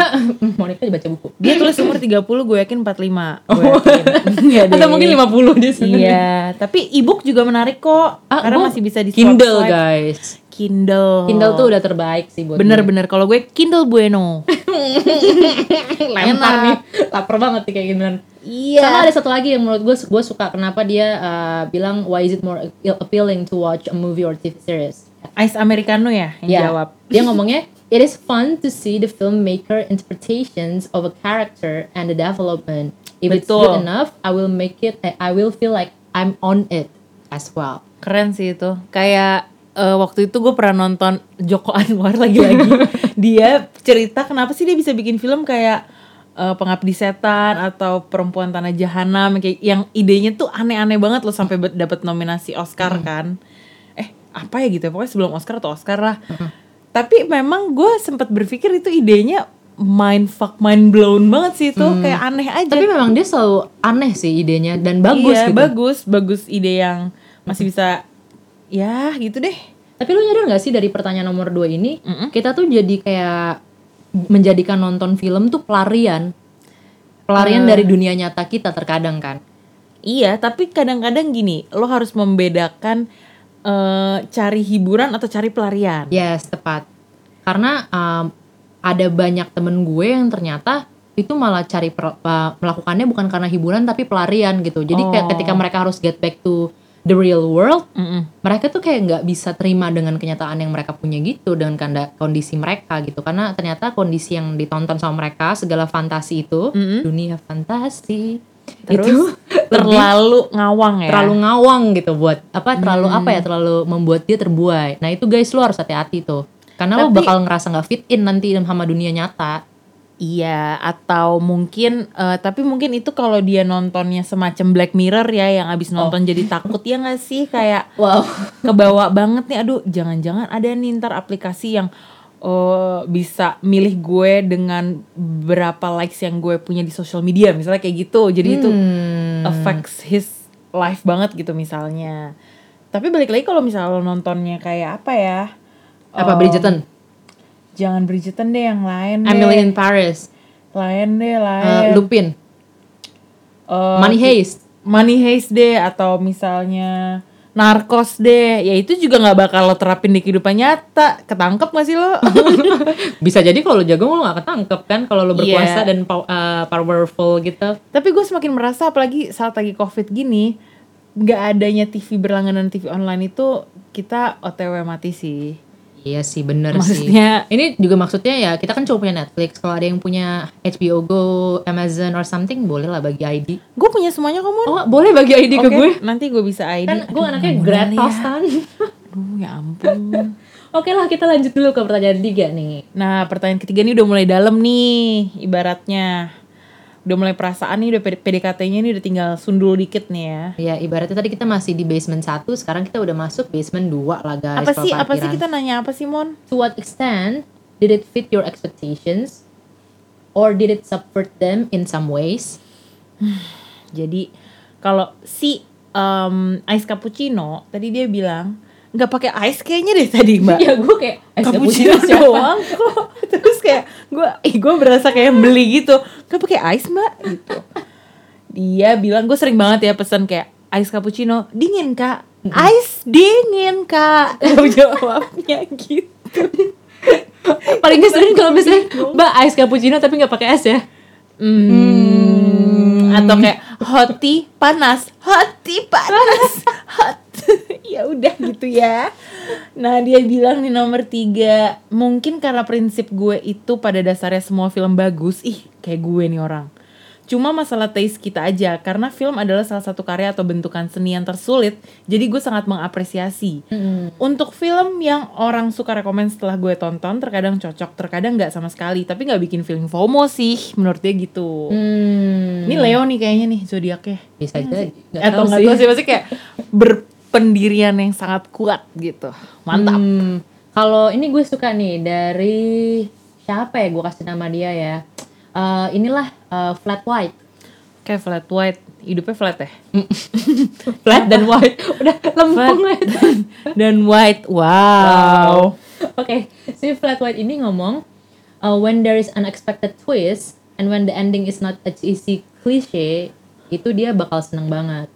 Speaker 2: Monica baca buku. <laughs>
Speaker 1: Dia tulis umur 30, gue yakin 45. Gue yakin. Iya deh.
Speaker 2: Atau mungkin 50 Oh. dia sebenarnya.
Speaker 1: Iya, tapi e-book juga menarik kok.
Speaker 2: Ah,
Speaker 1: karena
Speaker 2: gua
Speaker 1: masih bisa di Oh.
Speaker 2: Kindle
Speaker 1: swipe-swipe.
Speaker 2: guys.
Speaker 1: Kindle.
Speaker 2: Kindle tuh udah terbaik sih buat gue.
Speaker 1: Bener-bener kalau gue Kindle Bueno.
Speaker 2: <laughs> lempar nih lapar banget nih kayak gini sama
Speaker 1: iya.
Speaker 2: ada satu lagi yang menurut gue gue suka kenapa dia uh, bilang why is it more appealing to watch a movie or TV series
Speaker 1: Ice Americano ya yang
Speaker 2: Ya,
Speaker 1: jawab.
Speaker 2: <laughs> dia ngomongnya it is fun to see the filmmaker interpretations of a character and the development if it's
Speaker 1: Betul.
Speaker 2: good enough I will make it I will feel like I'm on it as well.
Speaker 3: Keren sih itu. Kayak eh, waktu itu gue pernah nonton
Speaker 1: <laughs>
Speaker 3: Joko Anwar lagi-lagi.
Speaker 1: dia cerita kenapa sih dia bisa bikin film kayak eh, Pengabdi Setan atau Perempuan Tanah Jahanam kayak yang idenya tuh aneh-aneh banget loh sampai be- dapet nominasi
Speaker 2: Hmm.
Speaker 1: Oscar kan. Eh, apa ya gitu ya pokoknya sebelum Oscar atau Oscar lah.
Speaker 2: Hmm.
Speaker 1: Tapi memang gue sempat berpikir itu idenya mind fuck mind blown banget sih itu kayak aneh aja.
Speaker 2: Hmm. Tapi memang dia selalu aneh sih idenya dan bagus
Speaker 1: Iya,
Speaker 2: gitu. Hmm.
Speaker 1: bagus, bagus ide yang masih bisa ya gitu deh.
Speaker 2: Tapi lu nyadar gak sih dari pertanyaan nomor dua ini,
Speaker 1: Mm-mm.
Speaker 2: kita tuh jadi kayak menjadikan nonton film tuh pelarian.
Speaker 1: Eh.
Speaker 2: Pelarian dari dunia nyata kita terkadang kan.
Speaker 1: Iya, tapi kadang-kadang gini, lo harus membedakan eh, cari hiburan atau cari pelarian.
Speaker 2: Yes, tepat. Karena um, ada banyak temen gue yang ternyata itu malah cari per- uh, melakukannya bukan karena hiburan tapi pelarian gitu. Jadi
Speaker 1: Oh.
Speaker 2: kayak ketika mereka harus get back to the real world,
Speaker 1: Mm-mm.
Speaker 2: mereka tuh kayak nggak bisa terima dengan kenyataan yang mereka punya gitu dengan kanda- kondisi mereka gitu karena ternyata kondisi yang ditonton sama mereka segala fantasi
Speaker 1: <laughs>
Speaker 2: itu
Speaker 1: Mm-mm.
Speaker 2: dunia fantasi
Speaker 1: Terus,
Speaker 2: itu <laughs>
Speaker 1: Terlalu
Speaker 2: terlalu
Speaker 1: ngawang ya.
Speaker 2: terlalu ngawang gitu buat apa terlalu apa ya terlalu membuat dia terbuai nah itu guys lo harus hati-hati tuh karena lo
Speaker 1: Tapi-
Speaker 2: bakal ngerasa nggak fit in nanti sama dunia nyata
Speaker 1: Iya, atau mungkin eh, tapi mungkin itu kalau dia nontonnya semacam Black Mirror ya yang abis nonton jadi takut ya nggak sih kayak
Speaker 2: wow
Speaker 1: kebawa banget nih aduh jangan-jangan ada nih ntar aplikasi yang eh, bisa milih gue dengan berapa likes yang gue punya di sosial media misalnya kayak gitu jadi itu
Speaker 2: Hmm.
Speaker 1: affects his life banget gitu misalnya tapi balik lagi kalau misalnya lo nontonnya kayak apa ya
Speaker 2: apa
Speaker 1: Em,
Speaker 2: Bridgerton
Speaker 1: jangan Bridgerton deh yang lain deh
Speaker 2: Emily in Paris
Speaker 1: lain deh
Speaker 2: uh,
Speaker 1: lain
Speaker 2: Lupin
Speaker 1: Eh,
Speaker 2: Money Heist
Speaker 1: Money Heist deh atau misalnya Narkos deh ya itu juga nggak bakal lo terapin di kehidupan nyata ketangkep gak sih lo
Speaker 2: Uh-huh. bisa jadi kalau lo jago lo gak ketangkep kan kalau lo berkuasa
Speaker 1: Iya.
Speaker 2: dan pow- eh, powerful gitu
Speaker 1: <laughs> Tapi gue semakin merasa apalagi saat lagi covid gini nggak adanya TV berlangganan TV online itu kita OTW mati sih.
Speaker 2: iya sih bener
Speaker 1: Maksudnya
Speaker 2: sih ini juga maksudnya ya kita kan cuma punya Netflix kalau ada yang punya HBO Go Amazon or something boleh lah bagi ID
Speaker 1: gue punya semuanya kamu.
Speaker 2: oh boleh bagi ID ke gue
Speaker 1: Nanti gue bisa ID.
Speaker 2: kan gue
Speaker 1: Aduh,
Speaker 2: anaknya
Speaker 1: mudah nih
Speaker 2: gratis
Speaker 1: ya.
Speaker 2: kan
Speaker 1: Aduh ya ampun.
Speaker 2: <laughs> oke lah kita lanjut dulu ke pertanyaan tiga nih
Speaker 1: nah pertanyaan ketiga ini udah mulai dalam nih ibaratnya. Udah mulai perasaan nih udah PDKT-nya ini udah tinggal sundul dikit nih ya.
Speaker 2: ya ibaratnya tadi kita masih di basement 1 sekarang kita udah masuk basement 2 lah guys
Speaker 1: Apa sih apa sih
Speaker 2: perparkiran.
Speaker 1: kita nanya apa sih Mon?
Speaker 2: to what extent did it fit your expectations or did it subvert them in some ways
Speaker 1: Jadi kalau si em ice cappuccino tadi dia bilang nggak pakai ice kayaknya deh tadi
Speaker 2: <laughs>
Speaker 1: mbak.
Speaker 2: <laughs> ya gue kayak "Eh,
Speaker 1: cappuccino
Speaker 2: cappuccino siapa?"
Speaker 1: doang kok. <laughs> Terus kayak gue, ih gue berasa kayak beli gitu. Nggak pakai ice mbak gitu. Dia bilang gue sering banget ya pesan kayak ice cappuccino dingin kak. Ice dingin kak. Dia <laughs> Jawabnya gitu.
Speaker 2: paling ngeselin kalau misalnya mbak ice cappuccino tapi nggak pakai es ya
Speaker 1: Hmm. Atau kayak hot tea panas, hot tea panas, <laughs> hot. ya udah gitu ya. Nah dia bilang di nomor tiga mungkin karena prinsip gue itu pada dasarnya semua film bagus. Ih kayak gue nih orang. Cuma masalah taste kita aja karena film adalah salah satu karya atau bentukan seni yang tersulit. Jadi gue sangat mengapresiasi. Untuk film yang orang suka rekomen setelah gue tonton terkadang cocok, terkadang nggak sama sekali. Tapi nggak bikin feeling FOMO sih menurut dia gitu.
Speaker 2: Hmm.
Speaker 1: Ini Leo nih kayaknya nih zodiaknya.
Speaker 2: bisa jadi Hmm. Eh, nggak
Speaker 1: Atau
Speaker 2: tahu
Speaker 1: nggak
Speaker 2: sih.
Speaker 1: tahu sih maksudnya kayak berpendirian yang sangat kuat gitu. Mantap.
Speaker 2: Hmm, kalau ini gue suka nih dari siapa ya gue kasih nama dia ya Eh, inilah eh, flat white
Speaker 1: Kayak flat white, hidupnya flat ya.
Speaker 2: Hmm.
Speaker 1: <laughs>
Speaker 2: flat dan <laughs> white udah lempeng
Speaker 1: Flat.
Speaker 2: banget.
Speaker 1: Dan white, wow.
Speaker 2: <laughs> Oke, si Flat White ini ngomong uh, when there is unexpected twist and when the ending is not a cheesy cliche, itu dia bakal seneng banget.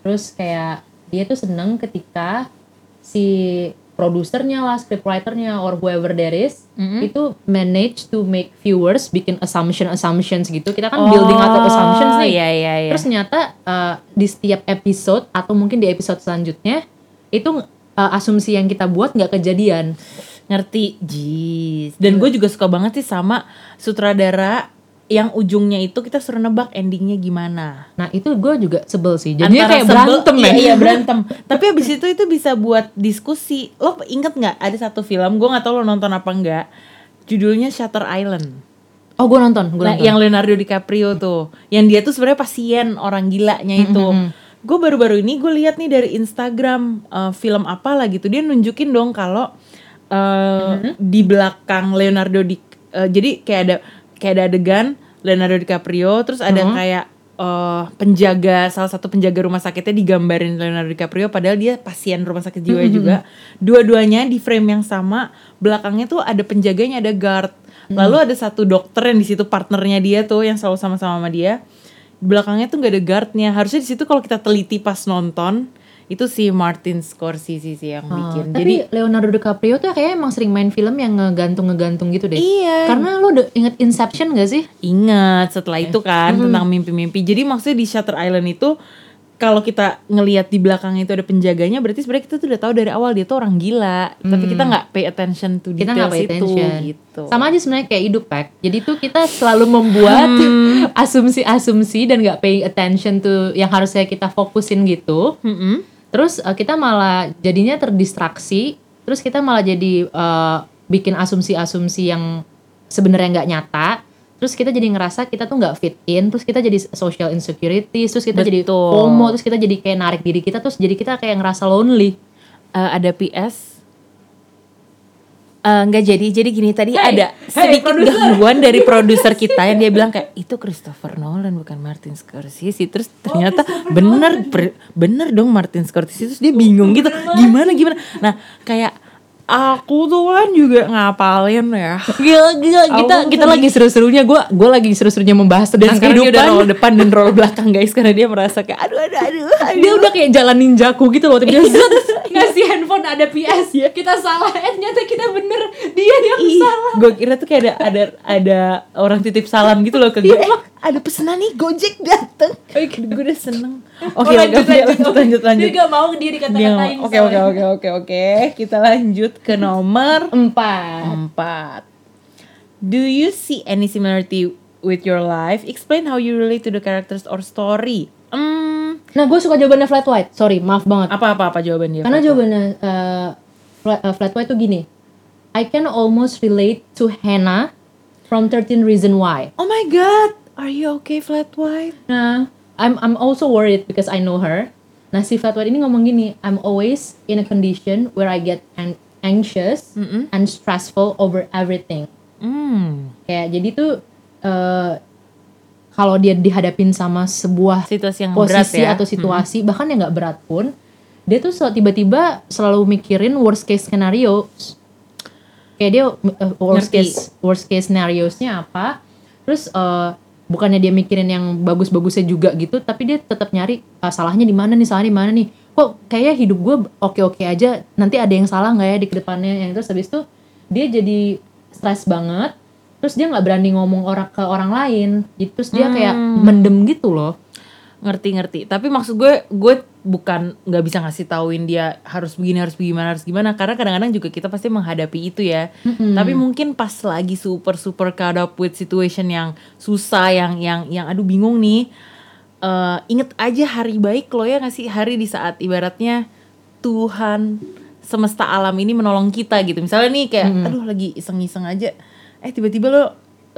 Speaker 2: Terus kayak dia tuh seneng ketika si produsernya lah, scriptwriternya or whoever there is
Speaker 1: Hmm?
Speaker 2: itu manage to make viewers bikin assumption assumptions gitu. Kita kan building atau assumptions nih.
Speaker 1: Oh, Iya, iya, iya.
Speaker 2: Terus ternyata uh, di setiap episode atau mungkin di episode selanjutnya itu uh, asumsi yang kita buat nggak kejadian. Iya.
Speaker 1: ngerti jis dan gue juga suka banget sih sama sutradara yang ujungnya itu kita suruh nebak endingnya gimana.
Speaker 2: Nah itu gue juga sebel sih. Jadinya kayak
Speaker 1: sebel-
Speaker 2: berantem
Speaker 1: iya,
Speaker 2: ya.
Speaker 1: Iya berantem. Tapi abis itu itu bisa buat diskusi. Lo inget nggak ada satu film gue nggak tahu lo nonton apa enggak. Judulnya Shutter Island.
Speaker 2: Oh gue nonton. Gue
Speaker 1: Nah,
Speaker 2: nonton.
Speaker 1: yang Leonardo DiCaprio tuh, yang dia tuh sebenarnya pasien orang gilanya itu. Gue baru-baru ini gue lihat nih dari Instagram eh, film apa lah gitu, dia nunjukin dong kalau eh, di belakang Leonardo di, eh, jadi kayak ada kayak ada adegan Leonardo DiCaprio, terus ada kayak eh, penjaga salah satu penjaga rumah sakitnya digambarin Leonardo DiCaprio, padahal dia pasien rumah sakit jiwa juga. Dua-duanya di frame yang sama, belakangnya tuh ada penjaganya ada guard.
Speaker 2: Hmm.
Speaker 1: Lalu ada satu dokter yang di situ partnernya dia tuh yang selalu sama-sama sama dia. Di belakangnya tuh nggak ada guardnya. Harusnya di situ kalau kita teliti pas nonton itu si Martin Scorsese sih yang bikin.
Speaker 2: Ah, Tapi
Speaker 1: Jadi
Speaker 2: Leonardo DiCaprio tuh kayaknya emang sering main film yang ngegantung-ngegantung gitu deh.
Speaker 1: Iya.
Speaker 2: Karena lo de- inget Inception gak sih?
Speaker 1: ingat setelah
Speaker 2: Eh,
Speaker 1: itu kan
Speaker 2: mm-hmm.
Speaker 1: tentang mimpi-mimpi. Jadi maksudnya di Shutter Island itu kalau kita ngelihat di belakangnya itu ada penjaganya berarti sebenarnya kita tuh udah tahu dari awal dia tuh orang gila. Tapi kita nggak pay attention to
Speaker 2: Mm-hmm. Kita nggak
Speaker 1: details
Speaker 2: pay
Speaker 1: itu
Speaker 2: attention.
Speaker 1: gitu.
Speaker 2: Sama aja sebenarnya kayak hidup pack. Jadi tuh kita selalu membuat
Speaker 1: Hmm.
Speaker 2: <laughs> asumsi-asumsi dan nggak pay attention to yang harusnya kita fokusin gitu.
Speaker 1: Mm-mm.
Speaker 2: Terus eh, kita malah jadinya terdistraksi. Terus kita malah jadi eh, bikin asumsi-asumsi yang sebenarnya nggak nyata. Terus kita jadi ngerasa kita tuh nggak fit in. Terus kita jadi social insecurity. Terus kita jadi
Speaker 1: Betul.
Speaker 2: FOMO. Terus kita jadi kayak narik diri kita. Terus jadi kita kayak ngerasa lonely.
Speaker 1: Eh, ada PS
Speaker 3: Eh, nggak jadi jadi gini tadi ada
Speaker 1: ada sedikit gangguan dari produser kita yang dia bilang kayak itu Christopher Nolan bukan Martin Scorsese terus ternyata bener ber- bener dong Martin Scorsese terus dia bingung gitu gimana gimana nah kayak aku tuh kan juga ngapalin ya
Speaker 2: Gila, gila. Kita,
Speaker 1: Aku
Speaker 2: kita lagi seru-serunya. Gue gua lagi seru-serunya membahas
Speaker 1: dan
Speaker 2: tentang
Speaker 1: Nah, sekarang dia udah roll
Speaker 2: <laughs> kehidupan.
Speaker 1: depan dan roll belakang guys karena dia merasa kayak aduh aduh aduh, aduh.
Speaker 2: Dia udah <laughs> kayak jalan ninjaku gitu loh. Tapi dia zet,
Speaker 1: <laughs>
Speaker 2: ngasih handphone ada PS. Kita salah. Eh ternyata kita bener. Dia yang salah.
Speaker 1: gue kira tuh kayak ada ada ada orang titip salam gitu loh ke gue eh, ada pesanan nih Gojek dateng gue udah seneng
Speaker 2: Oh,
Speaker 1: oke
Speaker 2: iya,
Speaker 1: oke oke, Oh, lanjut lanjut lanjut
Speaker 2: Dia gak mau dia
Speaker 1: Dia
Speaker 2: dikata-katain.
Speaker 1: ngomong, Oke oke oke oke oke. Kita lanjut ke nomor
Speaker 2: Empat.
Speaker 1: empat. Do you see any similarity with your life? Explain how you relate to the characters or story. Hmm,
Speaker 2: Nah gue suka jawabannya flat white. Sorry, maaf banget.
Speaker 1: apa apa apa jawaban dia?
Speaker 2: Karena
Speaker 1: Fatwa?
Speaker 2: jawabannya eh, flat, eh, flat white tuh gini. I can almost relate to Hannah from 13 Reason Why.
Speaker 1: Oh my god, are you okay flat white?
Speaker 2: Nah, I'm I'm also worried because I know her. Nah, si Fatwa ini ngomong gini, I'm always in a condition where I get an- anxious and stressful over everything.
Speaker 1: Hmm,
Speaker 2: Kayak jadi tuh eh, kalau dia dihadapin sama sebuah
Speaker 1: situasi yang berat
Speaker 2: posisi
Speaker 1: ya.
Speaker 2: atau situasi bahkan yang nggak berat pun dia tuh sel- tiba-tiba selalu mikirin worst case scenario kayak dia uh, worst
Speaker 1: Ngerti.
Speaker 2: case worst case scenariosnya apa terus uh, bukannya dia mikirin yang bagus-bagusnya juga gitu tapi dia tetap nyari uh, salahnya di mana nih salah di mana nih kok kayaknya hidup gue oke-oke aja nanti ada yang salah nggak ya di kedepannya yang terus habis itu dia jadi stres banget terus dia nggak berani ngomong orang ke orang lain Jadi terus dia kayak mendem gitu loh
Speaker 1: ngerti-ngerti Hmm. tapi maksud gue gue bukan nggak bisa ngasih tauin dia harus begini harus gimana harus gimana karena kadang-kadang juga kita pasti menghadapi itu ya tapi mungkin pas lagi super super caught up with situation yang susah yang yang yang aduh bingung nih eh, inget aja hari baik lo ya ngasih hari di saat ibaratnya Tuhan semesta alam ini menolong kita gitu misalnya nih kayak aduh lagi iseng-iseng aja eh tiba-tiba lo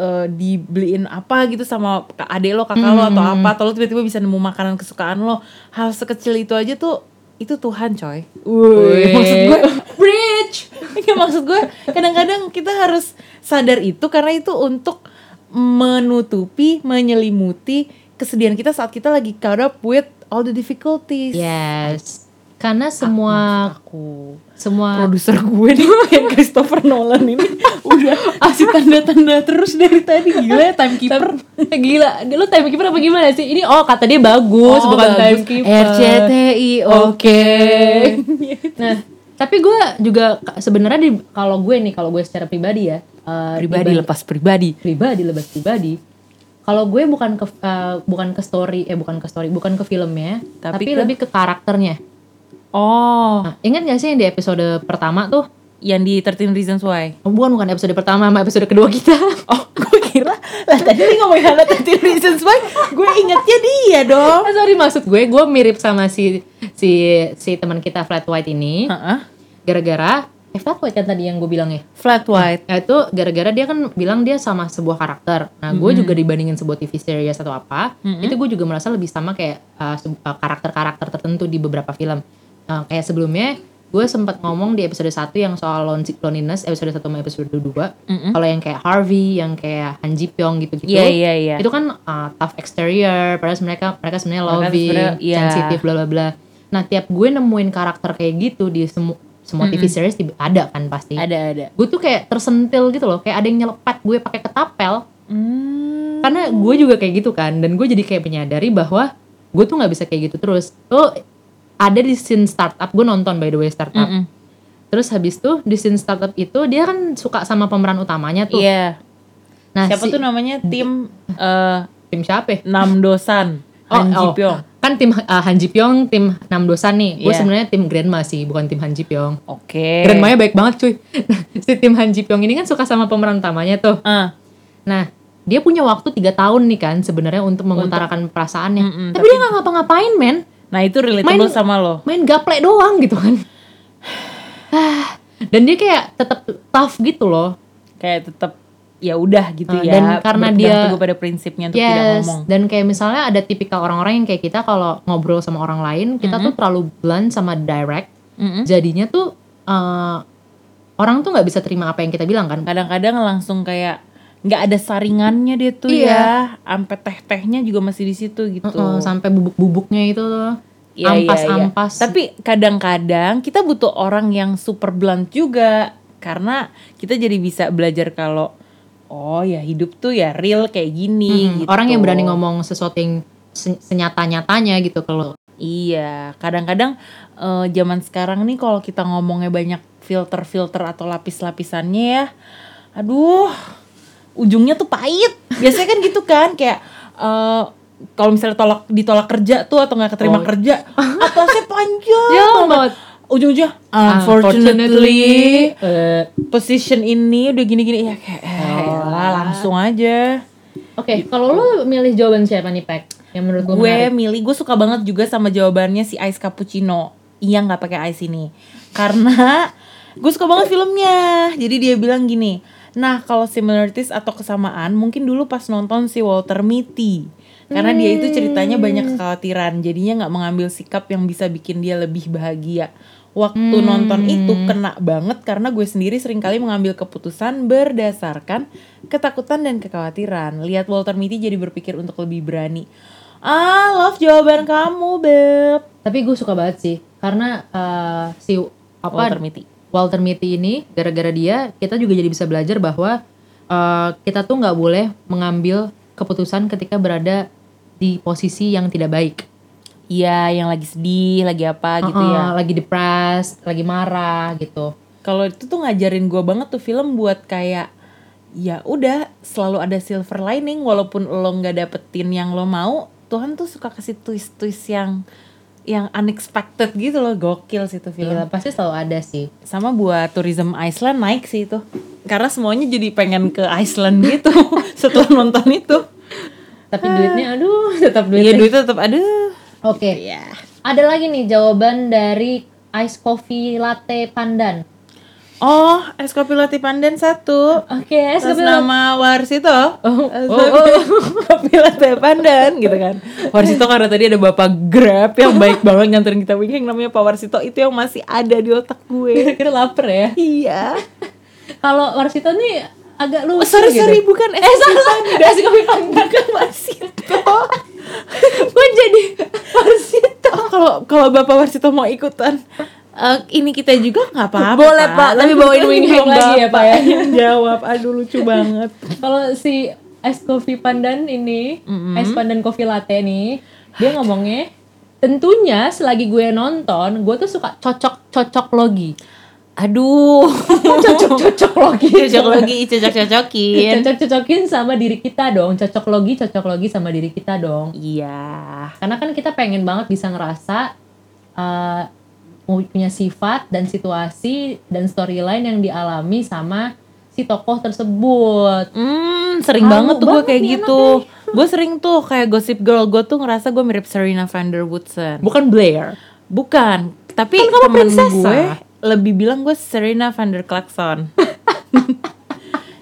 Speaker 1: eh, dibeliin apa gitu sama kak- adek lo, kakak lo atau apa, atau lo tiba-tiba bisa nemu makanan kesukaan lo. Hal sekecil itu aja tuh itu Tuhan coy. Wih, <laughs> maksud gue
Speaker 2: bridge
Speaker 1: Ya maksud gue kadang-kadang kita harus sadar itu karena itu untuk menutupi, menyelimuti kesedihan kita saat kita lagi caught up with all the difficulties.
Speaker 2: Yes. Karena semua
Speaker 1: Aku
Speaker 2: semua
Speaker 1: <laughs> produser gue nih kayak Christopher Nolan <laughs> ini udah kasih tanda-tanda terus dari tadi gila ya timekeeper.
Speaker 2: <laughs> gila. Lu timekeeper apa gimana sih? Ini oh kata dia bagus,
Speaker 1: Oh,
Speaker 2: bukan
Speaker 1: bagus.
Speaker 2: timekeeper.
Speaker 3: RCTI oke
Speaker 2: Nah, tapi gue juga ka- sebenarnya di kalau gue nih kalau gue secara pribadi ya, eh,
Speaker 1: <laughs> pribadi lepas pribadi
Speaker 2: pribadi lebih pribadi. Kalau gue bukan ke eh, bukan ke story eh bukan ke story, bukan ke filmnya,
Speaker 1: Tapi
Speaker 2: tapi,
Speaker 1: ke-
Speaker 2: lebih ke karakternya.
Speaker 1: oh
Speaker 2: Nah, ingat gak sih yang di episode pertama tuh
Speaker 3: yang di 13 Reasons Why.
Speaker 2: Oh, bukan bukan episode pertama sama episode kedua kita.
Speaker 1: <laughs> Oh, gue kira lah tadi dia ngomongin Hannah Tati Reasons Why, gue ingetnya dia dong.
Speaker 2: Ah, sorry maksud gue, gue mirip sama si si si teman kita Flat White ini.
Speaker 1: Heeh.
Speaker 2: Gara-gara eh, Flat White kan tadi yang gue bilang ya.
Speaker 1: Flat White.
Speaker 2: Ya, itu gara-gara dia kan bilang dia sama sebuah karakter. Nah, gue juga dibandingin sebuah TV series atau apa, itu gue juga merasa lebih sama kayak uh, se- uh, karakter-karakter tertentu di beberapa film. Uh, kayak sebelumnya gue sempat ngomong di episode 1 yang soal lon- loneliness episode 1 sama episode 2. Kalau yang kayak Harvey, yang kayak Han Ji Pyong gitu-gitu.
Speaker 3: Iya, iya, iya.
Speaker 2: Itu kan uh, tough exterior, padahal mereka mereka sebenarnya
Speaker 3: Mereka
Speaker 2: loving,
Speaker 3: sebenarnya- iya.
Speaker 2: sensitif bla bla bla. Nah, tiap gue nemuin karakter kayak gitu di semu- semua TV series di- ada
Speaker 1: Iya.
Speaker 2: kan pasti
Speaker 3: Ada ada.
Speaker 2: gue tuh kayak tersentil gitu loh kayak ada yang nyelepat gue pakai ketapel
Speaker 3: Hmm.
Speaker 1: Kan,
Speaker 2: karena gue juga kayak gitu kan dan gue jadi kayak menyadari bahwa gue tuh nggak bisa kayak gitu terus tuh ada di scene startup gue nonton by the way startup
Speaker 3: Mm-mm.
Speaker 2: terus habis tuh di scene startup itu dia kan suka sama pemeran utamanya tuh
Speaker 3: Iya.
Speaker 2: nah
Speaker 1: Siapa
Speaker 2: si-
Speaker 1: tuh namanya tim eh
Speaker 2: tim siapa ya?
Speaker 1: Nam Dosan, Han Ji
Speaker 2: Oh, oh.
Speaker 1: Pyong.
Speaker 2: kan tim uh, Han Ji Pyong tim Nam Dosan nih gue
Speaker 1: Iya.
Speaker 2: sebenarnya tim Grandma sih bukan tim Han Ji Pyong
Speaker 1: Oke.
Speaker 2: Grandmanya baik banget cuy <laughs> Nah, si tim Han Ji Pyong ini kan suka sama pemeran utamanya tuh
Speaker 1: Ah,
Speaker 2: Nah, dia punya waktu tiga tahun nih kan sebenarnya untuk mengutarakan perasaannya.
Speaker 1: Mm-mm,
Speaker 2: tapi, dia nggak ngapa-ngapain, men.
Speaker 1: nah itu relatable
Speaker 2: Main-
Speaker 1: sama lo.
Speaker 2: Main gaplek doang gitu kan. <sighs> Ah, Dan dia kayak tetap tough gitu loh.
Speaker 1: Kayak tetap ya udah gitu
Speaker 2: Ah,
Speaker 1: ya.
Speaker 2: dan karena
Speaker 1: berpegang
Speaker 2: dia-
Speaker 1: teguh pada prinsipnya untuk tidak
Speaker 2: Yes.
Speaker 1: ngomong.
Speaker 2: Dan kayak misalnya ada tipikal orang-orang yang kayak kita kalau ngobrol sama orang lain, kita tuh terlalu blunt sama direct.
Speaker 1: Mm-mm.
Speaker 2: Jadinya tuh eh, orang tuh nggak bisa terima apa yang kita bilang kan.
Speaker 1: Kadang-kadang langsung kayak nggak ada saringannya dia tuh
Speaker 2: Iya.
Speaker 1: ya. Sampai teh-tehnya juga masih di situ gitu.
Speaker 2: Heeh, sampai bubuk-bubuknya itu tuh.
Speaker 1: Iya, iya,
Speaker 2: ampas-ampas.
Speaker 1: iya. Tapi kadang-kadang kita butuh orang yang super blunt juga karena kita jadi bisa belajar kalau oh ya hidup tuh ya real kayak gini
Speaker 2: Mm,
Speaker 1: gitu.
Speaker 2: Orang yang berani ngomong sesuatu yang se- senyata-nyatanya gitu kalau
Speaker 1: Iya, kadang-kadang eh, zaman sekarang nih kalau kita ngomongnya banyak filter-filter atau lapis-lapisannya ya. Aduh, ujungnya tuh pahit. Biasanya kan gitu kan kayak eh, kalau misalnya tolak ditolak kerja tuh atau nggak keterima
Speaker 2: Oh.
Speaker 1: kerja, atasnya panjang
Speaker 2: Ya,
Speaker 1: banget.
Speaker 2: banget.
Speaker 1: Ujung-ujungnya unfortunately
Speaker 2: Eh,
Speaker 1: position ini udah gini-gini ya kayak eh, elah, langsung aja.
Speaker 2: oke kalau lo milih jawaban siapa nih Pak yang menurut lo
Speaker 1: gue
Speaker 2: menarik?
Speaker 1: milih gue suka banget juga sama jawabannya si ice cappuccino iya nggak pakai ice ini karena <laughs> gue suka banget filmnya jadi dia bilang gini nah kalau similarities atau kesamaan mungkin dulu pas nonton si Walter Mitty karena dia itu ceritanya
Speaker 2: Hmm.
Speaker 1: banyak kekhawatiran jadinya nggak mengambil sikap yang bisa bikin dia lebih bahagia waktu
Speaker 2: Hmm.
Speaker 1: nonton itu kena banget karena gue sendiri seringkali mengambil keputusan berdasarkan ketakutan dan kekhawatiran lihat Walter Mitty jadi berpikir untuk lebih berani Ah, love jawaban kamu, Beb.
Speaker 2: tapi gue suka banget sih karena eh, si apa
Speaker 1: Walter Mitty.
Speaker 2: Walter Mitty ini gara-gara dia kita juga jadi bisa belajar bahwa eh, kita tuh nggak boleh mengambil keputusan ketika berada di posisi yang tidak baik
Speaker 1: Iya, yang lagi sedih, lagi apa gitu ya.
Speaker 2: Eh, lagi depressed lagi marah gitu
Speaker 1: Kalau itu tuh ngajarin gue banget tuh film buat kayak ya udah selalu ada silver lining walaupun lo nggak dapetin yang lo mau, Tuhan tuh suka kasih twist-twist yang yang unexpected gitu loh, gokil sih tuh film.
Speaker 2: Gila, pasti selalu ada sih
Speaker 1: Sama buat tourism Iceland naik sih itu. Karena semuanya jadi pengen ke Iceland gitu <laughs> setelah nonton itu.
Speaker 2: tapi duitnya aduh <laughs> tetap
Speaker 1: Ya
Speaker 2: duitnya
Speaker 1: duitnya tetap aduh.
Speaker 2: oke
Speaker 1: Ya.
Speaker 2: ada lagi nih jawaban dari ice coffee latte pandan
Speaker 1: Oh, es kopi latte pandan satu.
Speaker 2: oke
Speaker 1: Es Terus
Speaker 2: es kopi latte
Speaker 1: nama Warsito.
Speaker 2: Oh,
Speaker 1: Es
Speaker 2: oh,
Speaker 1: kopi- <laughs> Kopi latte pandan gitu kan. Warsito karena tadi ada bapak Grab yang baik banget nganterin kita winging namanya Pak Warsito itu yang masih ada di otak gue.
Speaker 2: kira lapar ya
Speaker 1: iya.
Speaker 2: kalau warsito nih agak
Speaker 1: Oh,
Speaker 2: lucu
Speaker 1: sorry
Speaker 2: gitu.
Speaker 1: sorry bukan es kopi pandan.
Speaker 2: es kopi pandan
Speaker 1: Bukan Warsito. <laughs>
Speaker 2: gue jadi warsito
Speaker 1: Oh, kalau kalau Bapak Warsito mau ikutan eh, ini kita juga nggak apa-apa.
Speaker 2: Boleh, Pak, tapi bawain wing hang lagi ya, Pak, ya.
Speaker 1: Yang jawab, aduh lucu banget.
Speaker 2: <laughs> kalau si es kopi pandan ini es pandan kopi latte nih dia ngomongnya tentunya selagi gue nonton gue tuh suka cocok cocok <laughs> logi
Speaker 1: Aduh, <laughs>
Speaker 2: Oh, cocok Iya, cocok logi
Speaker 1: cocok lagi, cocok cocokin.
Speaker 2: cocok cocokin sama diri kita dong cocok logi cocok logi sama diri kita dong
Speaker 1: Iya.
Speaker 2: karena kan kita pengen banget bisa ngerasa uh, pu- punya sifat dan situasi dan storyline yang dialami sama si tokoh tersebut.
Speaker 1: Hmm, sering
Speaker 2: Halu
Speaker 1: banget tuh gue
Speaker 2: banget
Speaker 1: kayak
Speaker 2: nih
Speaker 1: gitu. Gue sering tuh kayak gosip girl, gue tuh ngerasa gue mirip Serena Van Der Woodson.
Speaker 2: Bukan Blair.
Speaker 1: Bukan, tapi
Speaker 2: Kan kamu
Speaker 1: temen
Speaker 2: prinsesa.
Speaker 1: gue lebih bilang gue Serena Van Der Clarkson.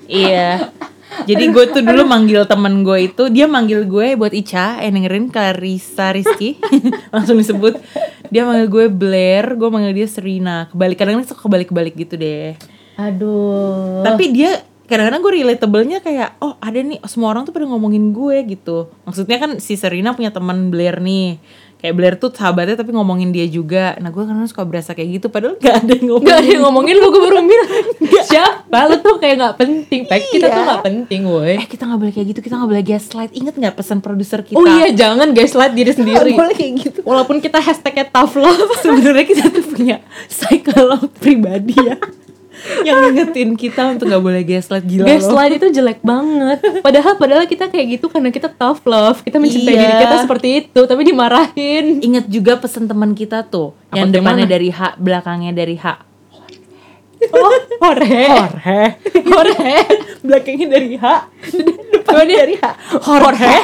Speaker 1: Iya. Jadi gue tuh dulu manggil temen gue itu, dia manggil gue buat Ica, yang dengerin Clarissa Rizky, <laughs> langsung disebut. Dia manggil gue Blair, gue manggil dia Serena. Kebalik, kadang-kadang suka kebalik-kebalik gitu deh.
Speaker 2: Aduh.
Speaker 1: <laughs> Tapi dia kadang-kadang gue relatable-nya kayak oh ada nih semua orang tuh pada ngomongin gue gitu. Maksudnya kan si Serena punya teman Blair nih. Kayak Blair tuh sahabatnya tapi ngomongin dia juga. Nah gue kadang suka berasa kayak gitu padahal gak ada yang ngomongin.
Speaker 2: Gak ada <laughs> yang ngomongin lu gue baru bilang Siapa lu tuh kayak gak penting Pak kita tuh gak penting woi
Speaker 1: Eh kita gak boleh kayak gitu, kita gak boleh gaslight. Ingat gak pesan produser kita?
Speaker 2: Oh iya jangan gaslight diri sendiri
Speaker 4: boleh kayak gitu
Speaker 2: Walaupun kita hashtagnya tough love
Speaker 1: Sebenarnya kita tuh punya psikolog pribadi ya. yang ngingetin kita untuk gak boleh gaslight gila loh.
Speaker 2: Gaslight itu jelek banget Padahal padahal kita kayak gitu karena kita tough love Kita mencintai
Speaker 1: Iya.
Speaker 2: diri kita seperti itu Tapi dimarahin
Speaker 1: Ingat juga pesan teman kita tuh.
Speaker 2: Apa
Speaker 1: yang
Speaker 2: tuh,
Speaker 1: depannya
Speaker 2: mana?
Speaker 1: dari H, belakangnya dari H.
Speaker 2: Oh hore
Speaker 1: Heh.
Speaker 2: Hore
Speaker 4: belakangnya dari H
Speaker 2: Coba dia
Speaker 1: <laughs>
Speaker 2: Hore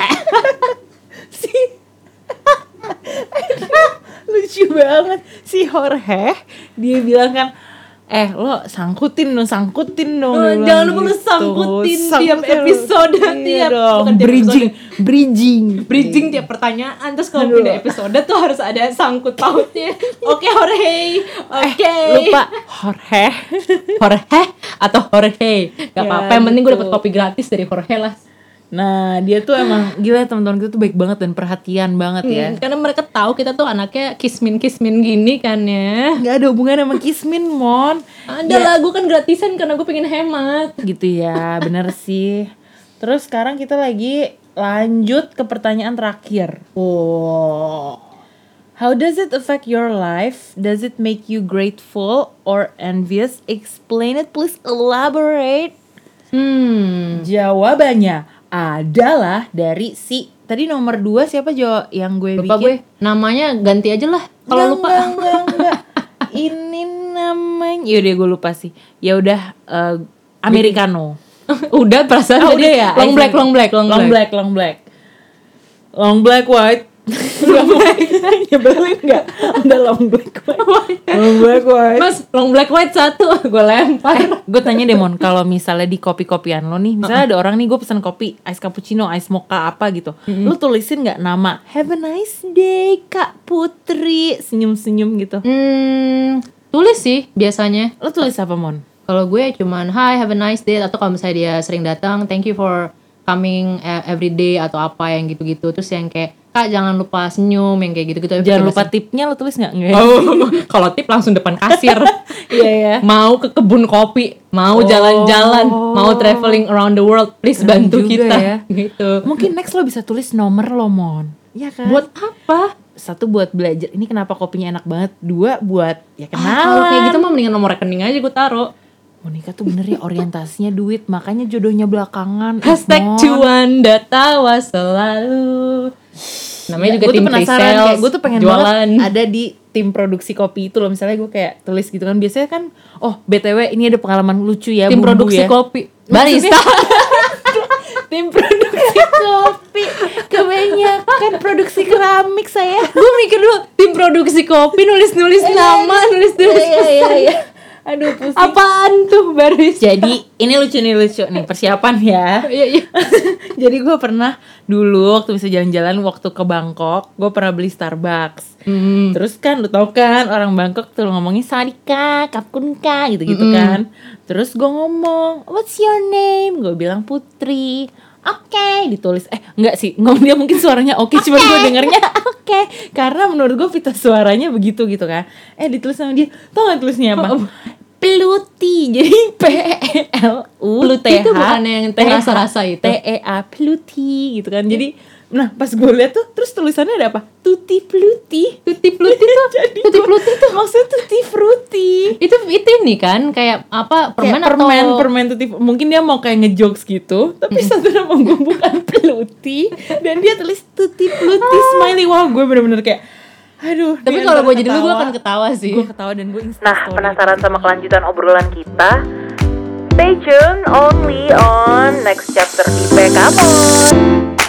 Speaker 4: lucu banget
Speaker 1: si Jorge dia bilang kan eh lo sangkutin dong sangkutin dong
Speaker 2: Eh,
Speaker 1: Dia bilang gitu.
Speaker 2: jangan lupa lo sangkutin tiap episode,
Speaker 1: iya
Speaker 2: tiap-
Speaker 1: dong.
Speaker 2: bukan tiap
Speaker 1: bridging bridging
Speaker 2: Bridging tiap pertanyaan Terus kalau pindah episode tuh harus ada sangkut pautnya Oke hore Oke
Speaker 1: Eh, lupa Jorge
Speaker 2: Jorge atau Jorge Gak
Speaker 1: Ya,
Speaker 2: apa-apa, yang penting gue
Speaker 1: gitu.
Speaker 2: dapet kopi gratis dari Jorge lah
Speaker 1: <laughs> nah dia tuh emang gila teman-teman kita tuh baik banget dan perhatian banget ya
Speaker 2: Hmm, Karena mereka tahu kita tuh anaknya kismin-kismin gini kan ya
Speaker 1: nggak ada hubungan sama Kismin mon
Speaker 2: Ada lah, gue kan gratisan karena gue pengen hemat
Speaker 1: gitu ya bener sih terus sekarang kita lagi lanjut ke pertanyaan terakhir
Speaker 2: Oh
Speaker 1: How does it affect your life? Does it make you grateful or envious? Explain it, please elaborate.
Speaker 2: Hmm
Speaker 1: Jawabannya adalah dari si tadi nomor dua siapa Jo yang gue
Speaker 2: Lupa
Speaker 1: bikin?
Speaker 2: gue, namanya ganti aja lah
Speaker 1: Enggak,
Speaker 2: Kalau lupa
Speaker 1: enggak, enggak, enggak. Ini namanya Yaudah gue lupa sih. Ya udah eh, Americano.
Speaker 2: <laughs> Oh, Udah perasaan
Speaker 1: Ah,
Speaker 2: tadi
Speaker 1: udah ya?
Speaker 2: Long
Speaker 1: I
Speaker 2: black,
Speaker 1: see.
Speaker 2: long black, long,
Speaker 1: Long
Speaker 2: black.
Speaker 1: black, long black. Long black white. <laughs> Long black. Nyebelin enggak? Udah long black white. Long black white.
Speaker 2: Mas, long black white satu <laughs> Gue lempar
Speaker 1: gue tanya deh Mon kalau misalnya di kopi kopian lo nih misalnya ada orang nih gue pesan kopi ice cappuccino ice mocha apa gitu lo tulisin nggak nama have a nice day kak putri senyum senyum gitu
Speaker 2: Hmm, tulis sih biasanya
Speaker 1: lo tulis apa Mon
Speaker 2: Kalau gue cuman hi have a nice day atau kalau misalnya dia sering datang thank you for coming eh, every day atau apa yang gitu-gitu terus yang kayak kak jangan lupa senyum yang kayak gitu-gitu
Speaker 1: jangan lupa tipnya lo tulis nggak nggak ya?
Speaker 2: oh <laughs> kalau tip langsung depan kasir
Speaker 1: <laughs> iya <laughs> ya
Speaker 2: <laughs> mau ke kebun kopi mau
Speaker 1: Oh.
Speaker 2: jalan-jalan mau traveling around the world please
Speaker 1: Keren
Speaker 2: bantu
Speaker 1: juga
Speaker 2: kita
Speaker 1: ya.
Speaker 2: <laughs> gitu
Speaker 1: mungkin next lo bisa tulis nomor lo Mon ya kan
Speaker 2: buat apa
Speaker 1: satu buat belajar ini kenapa kopinya enak banget dua buat ya
Speaker 2: kalau kayak
Speaker 1: kenalan
Speaker 2: gitu mah mendingan nomor rekening aja gue taruh
Speaker 1: Monica tuh bener ya orientasinya duit makanya jodohnya belakangan Ih,
Speaker 2: Hashtag
Speaker 1: Mon.
Speaker 2: cuan datawa selalu. Namanya juga
Speaker 1: gue
Speaker 2: tim
Speaker 1: tuh penasaran
Speaker 2: pre-sales,
Speaker 1: kayak gue tuh pengen
Speaker 2: jualan.
Speaker 1: banget ada di tim produksi kopi itu loh misalnya gue kayak tulis gitu kan biasanya kan oh btw ini ada pengalaman lucu ya
Speaker 2: tim
Speaker 1: bumbu
Speaker 2: produksi
Speaker 1: ya. <laughs>
Speaker 2: kopi.
Speaker 1: Maksudnya-
Speaker 2: Barista.
Speaker 1: tim
Speaker 2: <laughs>
Speaker 1: produksi kopi kebanyakan produksi keramik saya
Speaker 2: gue mikir dulu tim produksi kopi nulis-nulis
Speaker 1: Iya,
Speaker 2: nama, nulis-nulis pesan.
Speaker 1: aduh pusing
Speaker 2: <laughs> Apaan tuh barista?
Speaker 1: jadi ini lucu nih lucu nih persiapan ya
Speaker 2: Iya, iya.
Speaker 1: <laughs> Jadi gue pernah dulu waktu bisa jalan-jalan waktu ke Bangkok, gue pernah beli Starbucks.
Speaker 2: Hmm.
Speaker 1: Terus kan lu tau kan orang Bangkok tuh ngomongnya Sarika, Kapkun Ka gitu-gitu kan. Terus gue ngomong, "What's your name?" Gue bilang Putri. Oke, ditulis. Eh, enggak sih. Ngomong dia mungkin suaranya oke, cuman gue dengernya <laughs> oke. Karena menurut gue pita suaranya begitu gitu kan. Eh, ditulis sama dia. Tau gak tulisnya apa?
Speaker 2: Oh,
Speaker 1: Pluti. Jadi P E L U T
Speaker 2: Pluti
Speaker 1: H.
Speaker 2: itu bukannya yang rasa-rasa itu? Iya.
Speaker 1: TEA Pluti gitu kan. Jadi nah pas gue liat tuh terus tulisannya ada apa? Tuti Pluti. <laughs>
Speaker 2: Tuti pluti tuh.
Speaker 1: Jadi
Speaker 2: Tuti
Speaker 1: gua-
Speaker 2: pluti tuh.
Speaker 1: maksudnya Tuti Fruti.
Speaker 2: Itu itu ini kan kayak apa permen
Speaker 1: Kayak permen,
Speaker 2: atau
Speaker 1: permen tuti mungkin dia mau kayak ngejokes gitu tapi satu nama gue bukan Pluti dan dia tulis tuti Pluti smiley wow gue bener-bener kayak Aduh.
Speaker 2: Ah. Tapi
Speaker 1: dia
Speaker 2: kalau
Speaker 1: antara
Speaker 2: gue jadi lu gue
Speaker 1: Iya, ketawa,
Speaker 2: akan ketawa sih.
Speaker 1: Gue ketawa dan gue insta
Speaker 3: Nah,
Speaker 1: story.
Speaker 3: penasaran sama kelanjutan obrolan kita? Stay tuned only on next chapter di PKMon.